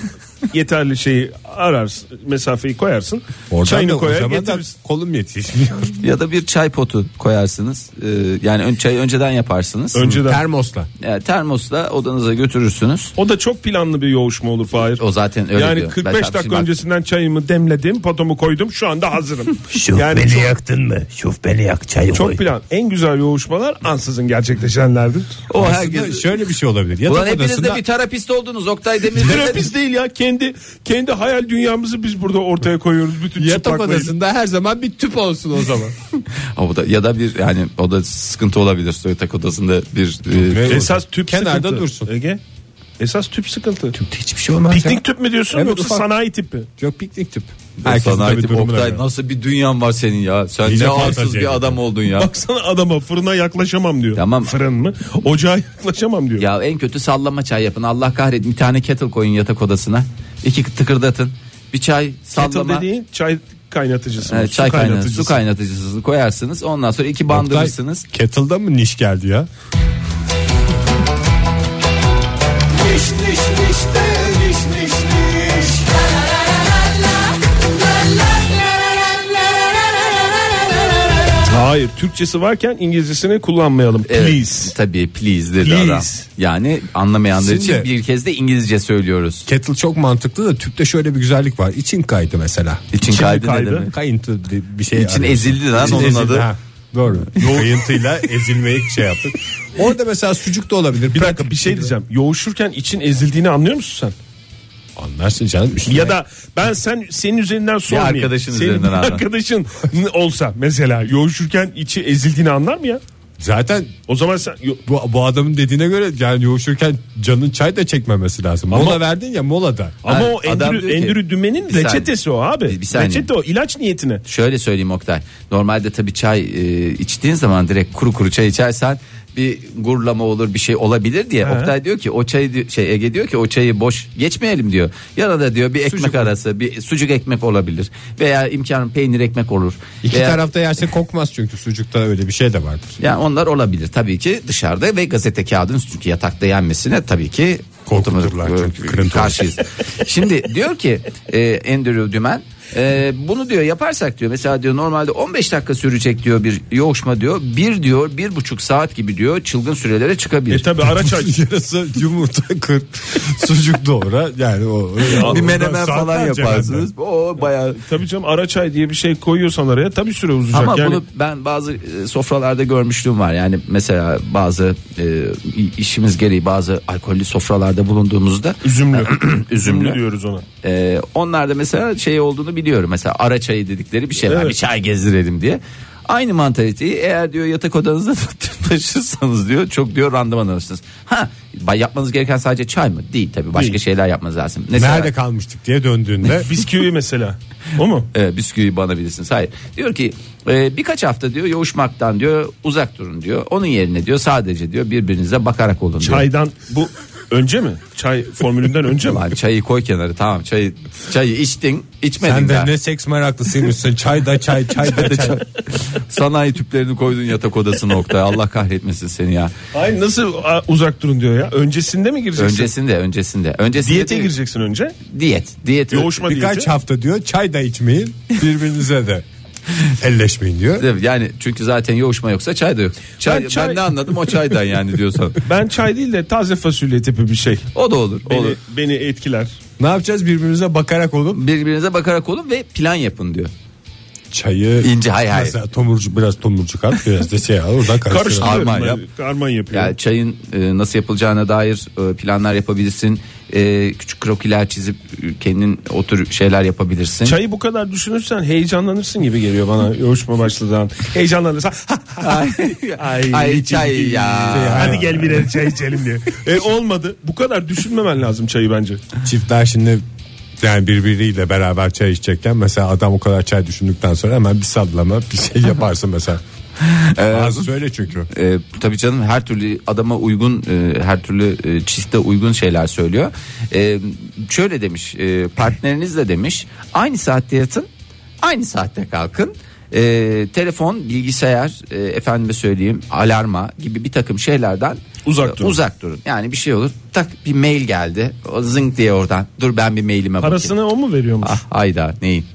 Speaker 4: yeterli şeyi ararsın mesafeyi koyarsın.
Speaker 1: Oradan da
Speaker 4: çayını
Speaker 1: o
Speaker 4: koyar
Speaker 1: zaman da
Speaker 4: getirirsin.
Speaker 1: kolum yetişmiyor.
Speaker 5: Ee, ya da bir çay potu koyarsınız. E, yani ön, çayı önceden yaparsınız.
Speaker 4: Önceden.
Speaker 1: Termosla.
Speaker 5: E, termosla odanıza götürürsünüz.
Speaker 4: O da çok planlı bir yoğuşma olur Fahir.
Speaker 5: O zaten öyle
Speaker 4: yani
Speaker 5: diyor. Ben
Speaker 4: 45 dakika
Speaker 5: tartışmam.
Speaker 4: öncesinden çayımı demledim, potamı koydum. Şu anda hazırım.
Speaker 6: Şuf
Speaker 4: yani
Speaker 6: beni
Speaker 4: çok,
Speaker 6: yaktın mı? Şuf beni yak çayı koy.
Speaker 4: çok plan. En güzel yoğuşmalar ansızın gerçekleşenlerdir.
Speaker 5: O
Speaker 1: Aslında
Speaker 5: herkes.
Speaker 1: şöyle bir şey olabilir. Yatak
Speaker 5: Ulan hepiniz de
Speaker 1: odasında
Speaker 5: bir terapist oldunuz Oktay Demir.
Speaker 4: Terapist değil ya kendi kendi hayal dünyamızı biz burada ortaya koyuyoruz bütün
Speaker 1: yatak
Speaker 4: çıplaklığıyla.
Speaker 1: odasında her zaman bir tüp olsun o zaman.
Speaker 5: Ha, o da, ya da bir yani o da sıkıntı olabilir soyatak odasında bir e,
Speaker 4: Esas tüp
Speaker 1: Kenarda
Speaker 4: sıkıntı.
Speaker 1: dursun.
Speaker 4: Ege. Esas tüp sıkıntı.
Speaker 1: Hiçbir şey olmaz.
Speaker 4: Piknik tüp mü diyorsun
Speaker 1: Evet,
Speaker 4: yoksa
Speaker 1: ufak.
Speaker 4: sanayi tip mi?
Speaker 1: Yok piknik tüp. Herkesin
Speaker 5: sanayi
Speaker 1: tabii
Speaker 5: tipi.
Speaker 1: durumuna
Speaker 5: Oktay
Speaker 1: göre.
Speaker 5: nasıl bir dünyan var senin ya sen
Speaker 1: İyice
Speaker 5: ne arsız
Speaker 1: fantaziye
Speaker 5: bir adam oldun ya.
Speaker 4: Baksana adama fırına yaklaşamam diyor.
Speaker 5: Tamam.
Speaker 4: Fırın mı? Ocağa yaklaşamam diyor.
Speaker 5: Ya en kötü sallama çay yapın Allah kahretsin bir tane kettle koyun yatak odasına iki tıkırdatın bir çay
Speaker 4: Kettle
Speaker 5: sallama.
Speaker 4: dediğin çay kaynatıcısı.
Speaker 5: Evet,
Speaker 4: su
Speaker 5: çay kaynatıcısı.
Speaker 4: kaynatıcısı.
Speaker 5: su kaynatıcısını koyarsınız. Ondan sonra iki bandırırsınız.
Speaker 1: Kettle'da mı niş geldi ya?
Speaker 2: Niş niş niş de niş niş niş.
Speaker 4: Hayır Türkçesi varken İngilizcesini kullanmayalım.
Speaker 5: Evet,
Speaker 4: Please.
Speaker 5: Tabii please dedi
Speaker 4: Please.
Speaker 5: adam. Yani anlamayanlar için
Speaker 1: Şimdi-
Speaker 5: bir kez de İngilizce söylüyoruz.
Speaker 1: Kettle çok mantıklı da tüpte şöyle bir güzellik var. İçin kaydı mesela.
Speaker 5: İçin kaydı, ne
Speaker 4: kaydı.
Speaker 5: demek?
Speaker 1: Kayıntı di- bir şey.
Speaker 5: İçin
Speaker 1: arıyorsun.
Speaker 5: ezildi lan onun adı.
Speaker 1: ha. Doğru. Kayıntıyla ezilmeyi şey yaptık. Orada mesela sucuk da olabilir.
Speaker 4: Bir dakika bir şey diyeceğim. Yoğuşurken için ezildiğini anlıyor musun sen?
Speaker 1: Anlarsın canım. Üstüne.
Speaker 4: Ya da ben sen senin üzerinden sormayayım.
Speaker 5: arkadaşın
Speaker 4: senin
Speaker 5: üzerinden
Speaker 4: bir
Speaker 5: anlat.
Speaker 4: arkadaşın olsa mesela yoğuşurken içi ezildiğini anlar mı ya?
Speaker 1: Zaten
Speaker 4: O zaman sen yo-
Speaker 1: bu, bu adamın dediğine göre yani yoğuşurken canın çay da çekmemesi lazım. mola verdin ya molada.
Speaker 4: ama
Speaker 5: Evet,
Speaker 4: o
Speaker 5: adam
Speaker 4: endürü,
Speaker 5: diyor ki-
Speaker 4: endürü dümenin
Speaker 5: Bir saniye.
Speaker 4: reçetesi o abi.
Speaker 5: Bir- bir saniye.
Speaker 4: Reçete o ilaç niyetine.
Speaker 5: Şöyle söyleyeyim Oktay. Normalde tabii çay e, içtiğin zaman direkt kuru kuru çay içersen bir gurlama olur bir şey olabilir diye. Oktay diyor ki o çayı di- şey Ege diyor ki o çayı boş geçmeyelim diyor. Yanında diyor bir ekmek arası bir sucuk ekmek olabilir veya imkanın peynir ekmek olur.
Speaker 1: İki
Speaker 5: veya,
Speaker 1: tarafta yerse kokmaz çünkü sucukta öyle bir şey de vardır.
Speaker 5: yani onlar olabilir tabii ki dışarıda ve gazete kağıdın çünkü yatakta yenmesine tabii ki
Speaker 1: Korkuturlar
Speaker 5: otomatik-
Speaker 1: çünkü kırıntı olur.
Speaker 5: karşıyız. Şimdi diyor ki e, Andrew Dümen e, bunu diyor yaparsak diyor mesela diyor normalde 15 dakika sürecek diyor bir yoğuşma diyor bir diyor bir buçuk saat gibi diyor çılgın sürelere çıkabilir.
Speaker 4: E tabi araç aç.
Speaker 1: Yarısı yumurta kır sucuk doğra yani o
Speaker 5: bir menemen falan yaparsınız. O bayağı
Speaker 4: Tabii canım ara çay diye bir şey koyuyorsan araya tabii süre uzayacak.
Speaker 5: Ama
Speaker 4: yani
Speaker 5: bunu ben bazı e, sofralarda görmüşlüğüm var. Yani mesela bazı e, i- işimiz gereği bazı alkollü sofralarda bulunduğumuzda
Speaker 4: üzümlü.
Speaker 5: üzümlü
Speaker 4: diyoruz ona.
Speaker 5: Ee, onlar da mesela şey olduğunu biliyorum. Mesela ara çayı dedikleri bir şey var.
Speaker 4: Evet.
Speaker 5: Bir çay gezdirelim diye. Aynı mantaliteyi eğer diyor yatak odanızda taşırsanız diyor çok diyor randıman alırsınız. Ha ba- yapmanız gereken sadece çay mı? Değil tabii başka
Speaker 4: Değil.
Speaker 5: şeyler yapmanız lazım.
Speaker 1: Nerede kalmıştık diye döndüğünde
Speaker 4: E, Bisküvi mesela. O mu?
Speaker 5: e, bisküvi banabilirsiniz. Hayır. Diyor ki e, birkaç hafta diyor yoğuşmaktan diyor uzak durun diyor. Onun yerine diyor sadece diyor birbirinize bakarak olun diyor.
Speaker 4: Çaydan bu önce mi? Çay formülünden önce mi?
Speaker 5: Lan çayı koy kenara tamam çayı çayı içtin içmedin
Speaker 1: sen
Speaker 5: daha.
Speaker 1: de ne seks meraklısıymışsın çay da çay çay da çay.
Speaker 5: Sanayi tüplerini koydun yatak odasına nokta. Allah kahretmesin seni ya.
Speaker 4: Ay nasıl a, uzak durun diyor ya. Öncesinde mi gireceksin?
Speaker 5: Öncesinde, öncesinde. Öncesinde
Speaker 4: Diyete
Speaker 5: değil.
Speaker 4: gireceksin önce.
Speaker 5: Diyet, diyet.
Speaker 4: Yoğuşma
Speaker 1: Birkaç
Speaker 4: diyeti.
Speaker 1: hafta diyor çay da içmeyin birbirinize de elleşmeyin diyor.
Speaker 5: Değil mi? Yani çünkü zaten yoğuşma yoksa çay da yok. Çay,
Speaker 4: Ben
Speaker 5: ben,
Speaker 4: çay-
Speaker 5: ne anladım o çaydan yani diyorsan.
Speaker 4: Ben çay değil de taze fasulye tipi bir şey.
Speaker 5: O da olur,
Speaker 4: Beni,
Speaker 5: olur.
Speaker 4: beni etkiler.
Speaker 1: Ne yapacağız birbirimize bakarak olup
Speaker 5: Birbirinize bakarak olun ve plan yapın diyor.
Speaker 1: çayı
Speaker 5: İnce, hayır, hayır.
Speaker 1: Mesela tomurcu biraz tomurcuk at biraz da şey al oradan karıştır.
Speaker 4: Karıştırıyorum
Speaker 5: Karman
Speaker 4: ben.
Speaker 5: yap.
Speaker 4: Karman yapıyorum.
Speaker 5: Ya çayın e, nasıl yapılacağına dair e, planlar yapabilirsin. E, küçük krokiler çizip e, kendin o tür şeyler yapabilirsin.
Speaker 4: Çayı bu kadar düşünürsen heyecanlanırsın gibi geliyor bana yoğuşma başladığın. Heyecanlanırsan
Speaker 5: ay, ay, çay ya.
Speaker 4: hadi gel birer çay içelim diye. E olmadı. Bu kadar düşünmemen lazım çayı bence.
Speaker 1: Çiftler şimdi yani birbiriyle beraber çay içecekken mesela adam o kadar çay düşündükten sonra hemen bir sallama bir şey yaparsın mesela. Ağzı söyle çünkü.
Speaker 5: E, tabii canım her türlü adama uygun e, her türlü e, çiste uygun şeyler söylüyor. E, şöyle demiş e, partneriniz de demiş aynı saatte yatın aynı saatte kalkın. E, telefon bilgisayar e, efendime söyleyeyim alarma gibi bir takım şeylerden
Speaker 4: Uzak
Speaker 5: e,
Speaker 4: durun.
Speaker 5: uzak durun. Yani bir şey olur tak bir mail geldi o zınk diye oradan dur ben bir mailime bakayım.
Speaker 4: Parasını o mu veriyormuş?
Speaker 5: Ah hayda neyin?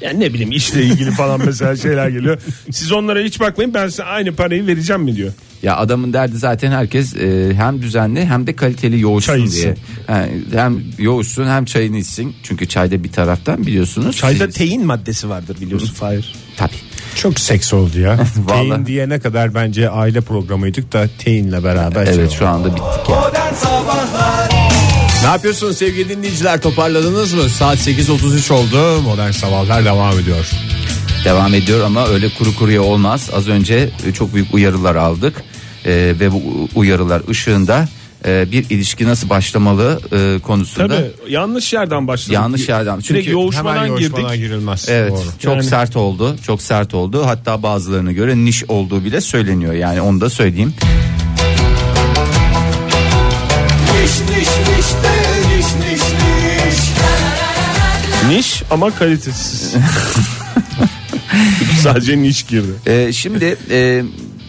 Speaker 4: Yani ne bileyim işle ilgili falan mesela şeyler geliyor. Siz onlara hiç bakmayın ben size aynı parayı vereceğim mi diyor.
Speaker 5: Ya adamın derdi zaten herkes e, hem düzenli hem de kaliteli yoğuşsun
Speaker 4: Çay içsin.
Speaker 5: diye. Yani hem yoğuşsun hem çayını içsin. Çünkü çayda bir taraftan biliyorsunuz. siz-
Speaker 4: teyin maddesi vardır biliyorsun Fahir.
Speaker 5: tabii.
Speaker 1: Çok seks oldu ya.
Speaker 5: Vallahi.
Speaker 1: teyin diye ne kadar bence aile programıydık da teyinle beraber. şey
Speaker 5: Evet
Speaker 1: oldu.
Speaker 5: şu anda bittik.
Speaker 2: Modern Sabahlar
Speaker 1: Ne yapıyorsunuz sevgili dinleyiciler toparladınız mı? Saat 8.33 oldu. Modern Sabahlar devam ediyor.
Speaker 5: Devam ediyor ama öyle kuru kuruya olmaz. Az önce e, çok büyük uyarılar aldık. E, ve bu uyarılar ışığında e, bir ilişki nasıl başlamalı e, konusunda.
Speaker 4: Tabii yanlış yerden başladık.
Speaker 5: Yanlış yerden.
Speaker 4: Direkt
Speaker 5: Çünkü
Speaker 4: yoğuşmadan
Speaker 1: Hemen
Speaker 4: girdik.
Speaker 1: yoğuşmadan girilmez.
Speaker 5: Evet
Speaker 1: Doğru.
Speaker 5: çok
Speaker 4: Yani-
Speaker 5: sert oldu çok sert oldu hatta bazılarına göre niş olduğu bile söyleniyor yani onu da söyleyeyim.
Speaker 2: Niş niş niş de niş niş niş
Speaker 4: Niş ama kalitesiz. Sadece niş girdi.
Speaker 5: Ee, şimdi e,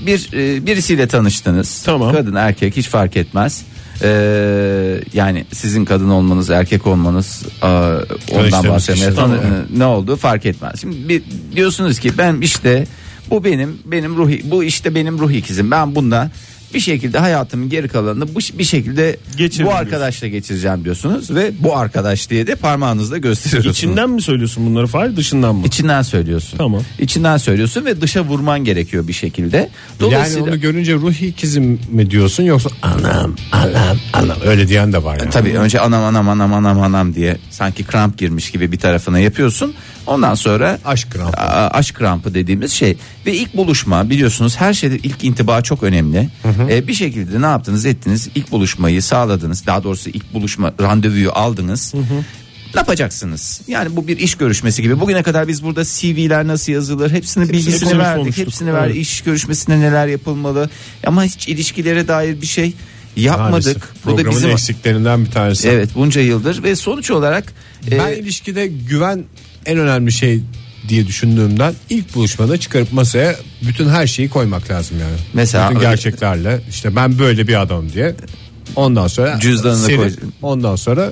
Speaker 5: bir e, birisiyle tanıştınız.
Speaker 4: Tamam.
Speaker 5: Kadın erkek hiç fark etmez. Ee, yani sizin kadın olmanız erkek olmanız e, ondan
Speaker 1: Tanıştığımız
Speaker 5: bahsetmeye
Speaker 1: kişi,
Speaker 5: tanı-
Speaker 1: tamam.
Speaker 5: e, ne oldu fark etmez. Şimdi bir, diyorsunuz ki ben işte bu benim benim ruhi bu işte benim ruh ikizim ben bununla bir şekilde hayatımın geri kalanını bu, bir şekilde
Speaker 4: Geçiririm
Speaker 5: bu
Speaker 4: diyorsun.
Speaker 5: arkadaşla geçireceğim diyorsunuz ve bu arkadaş diye de parmağınızla gösteriyorsunuz.
Speaker 4: İçinden mi söylüyorsun bunları Fahir dışından mı?
Speaker 5: İçinden söylüyorsun.
Speaker 4: Tamam.
Speaker 5: İçinden söylüyorsun ve dışa vurman gerekiyor bir şekilde.
Speaker 1: Yani
Speaker 5: Dolayısıyla
Speaker 1: onu görünce ruh ikizim mi diyorsun yoksa anam anam anam öyle diyen de var yani.
Speaker 5: E, tabii önce anam anam anam anam anam diye sanki kramp girmiş gibi bir tarafına yapıyorsun. Ondan sonra
Speaker 1: Aşk krampı.
Speaker 5: A- aşk krampı dediğimiz şey ve ilk buluşma biliyorsunuz her şeyde ilk intiba çok önemli. E, bir şekilde ne yaptınız ettiniz ilk buluşmayı sağladınız. Daha doğrusu ilk buluşma randevuyu aldınız. Ne yapacaksınız? Yani bu bir iş görüşmesi gibi. Bugüne kadar biz burada CV'ler nasıl yazılır hepsinin bilgisini
Speaker 4: hepsini
Speaker 5: verdik.
Speaker 4: konuştuk.
Speaker 5: Hepsini verdik.
Speaker 4: Evet.
Speaker 5: İş görüşmesinde neler yapılmalı? Ama hiç ilişkilere dair bir şey yapmadık.
Speaker 1: Maalesef.
Speaker 5: Bu da
Speaker 1: Programın
Speaker 5: bizim
Speaker 1: eksiklerinden bir tanesi.
Speaker 5: Evet bunca yıldır ve sonuç olarak e,
Speaker 1: Ben ilişkide güven en önemli şey diye düşündüğümden ilk buluşmada çıkarıp masaya bütün her şeyi koymak lazım yani.
Speaker 5: Mesela
Speaker 1: bütün
Speaker 5: öyle-
Speaker 1: gerçeklerle işte ben böyle bir adam diye. Ondan sonra
Speaker 5: Cüzdanını
Speaker 1: seni-
Speaker 5: koy.
Speaker 1: Ondan sonra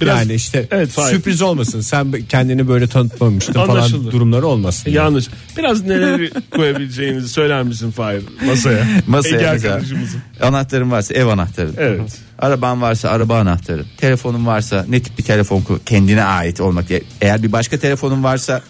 Speaker 4: Biraz-
Speaker 1: yani işte
Speaker 4: Evet, Fahir.
Speaker 1: sürpriz olmasın. Sen kendini böyle tanıtmamıştın falan
Speaker 4: Anlaşıldı.
Speaker 1: durumları olmasın. yani.
Speaker 4: Yanlış. Biraz neleri koyabileceğinizi söyler misin Fahir masaya?
Speaker 5: masaya
Speaker 4: Ege
Speaker 5: mesela
Speaker 4: arkadaşımızın.
Speaker 5: anahtarın varsa ev anahtarın.
Speaker 4: Evet.
Speaker 5: Araban varsa araba anahtarın. Telefonun varsa ne tip bir telefon ku- kendine ait olmak diye. Eğer bir başka telefonun varsa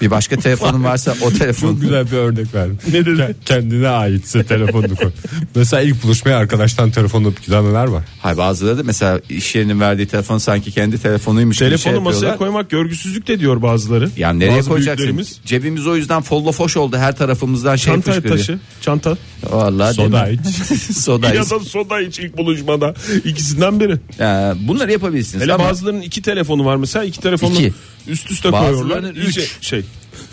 Speaker 5: bir başka telefonun varsa o telefon.
Speaker 1: Çok güzel bir örnek verdim.
Speaker 4: Ne dedi?
Speaker 1: Ke- Kendine aitse telefonunu koy. Mesela ilk buluşmaya arkadaştan telefonunu gidenler var.
Speaker 5: Hay bazıları da mesela iş yerinin verdiği telefon sanki kendi telefonuymuş gibi şey
Speaker 4: Telefonu masaya
Speaker 5: yapıyorlar.
Speaker 4: koymak görgüsüzlük de diyor bazıları.
Speaker 5: yani nereye
Speaker 4: Bazı
Speaker 5: koyacaksın?
Speaker 4: büyüklerimiz.
Speaker 5: Cebimiz o yüzden follofoş oldu. Her tarafımızdan şey
Speaker 4: Çanta
Speaker 5: fışkırıyor.
Speaker 4: taşı. Çanta.
Speaker 5: Vallahi
Speaker 1: Soda
Speaker 5: demin-
Speaker 1: iç.
Speaker 5: soda
Speaker 4: Ya
Speaker 5: iç.
Speaker 4: da soda iç ilk buluşmada. İkisinden biri.
Speaker 5: Ee, bunları yapabilirsiniz.
Speaker 4: Hele
Speaker 5: ama
Speaker 4: bazılarının iki telefonu var mesela. iki telefonu
Speaker 5: İki.
Speaker 4: üst üste
Speaker 5: Bazılarının
Speaker 4: koyuyorlar.
Speaker 5: üç.
Speaker 4: İyice Şey.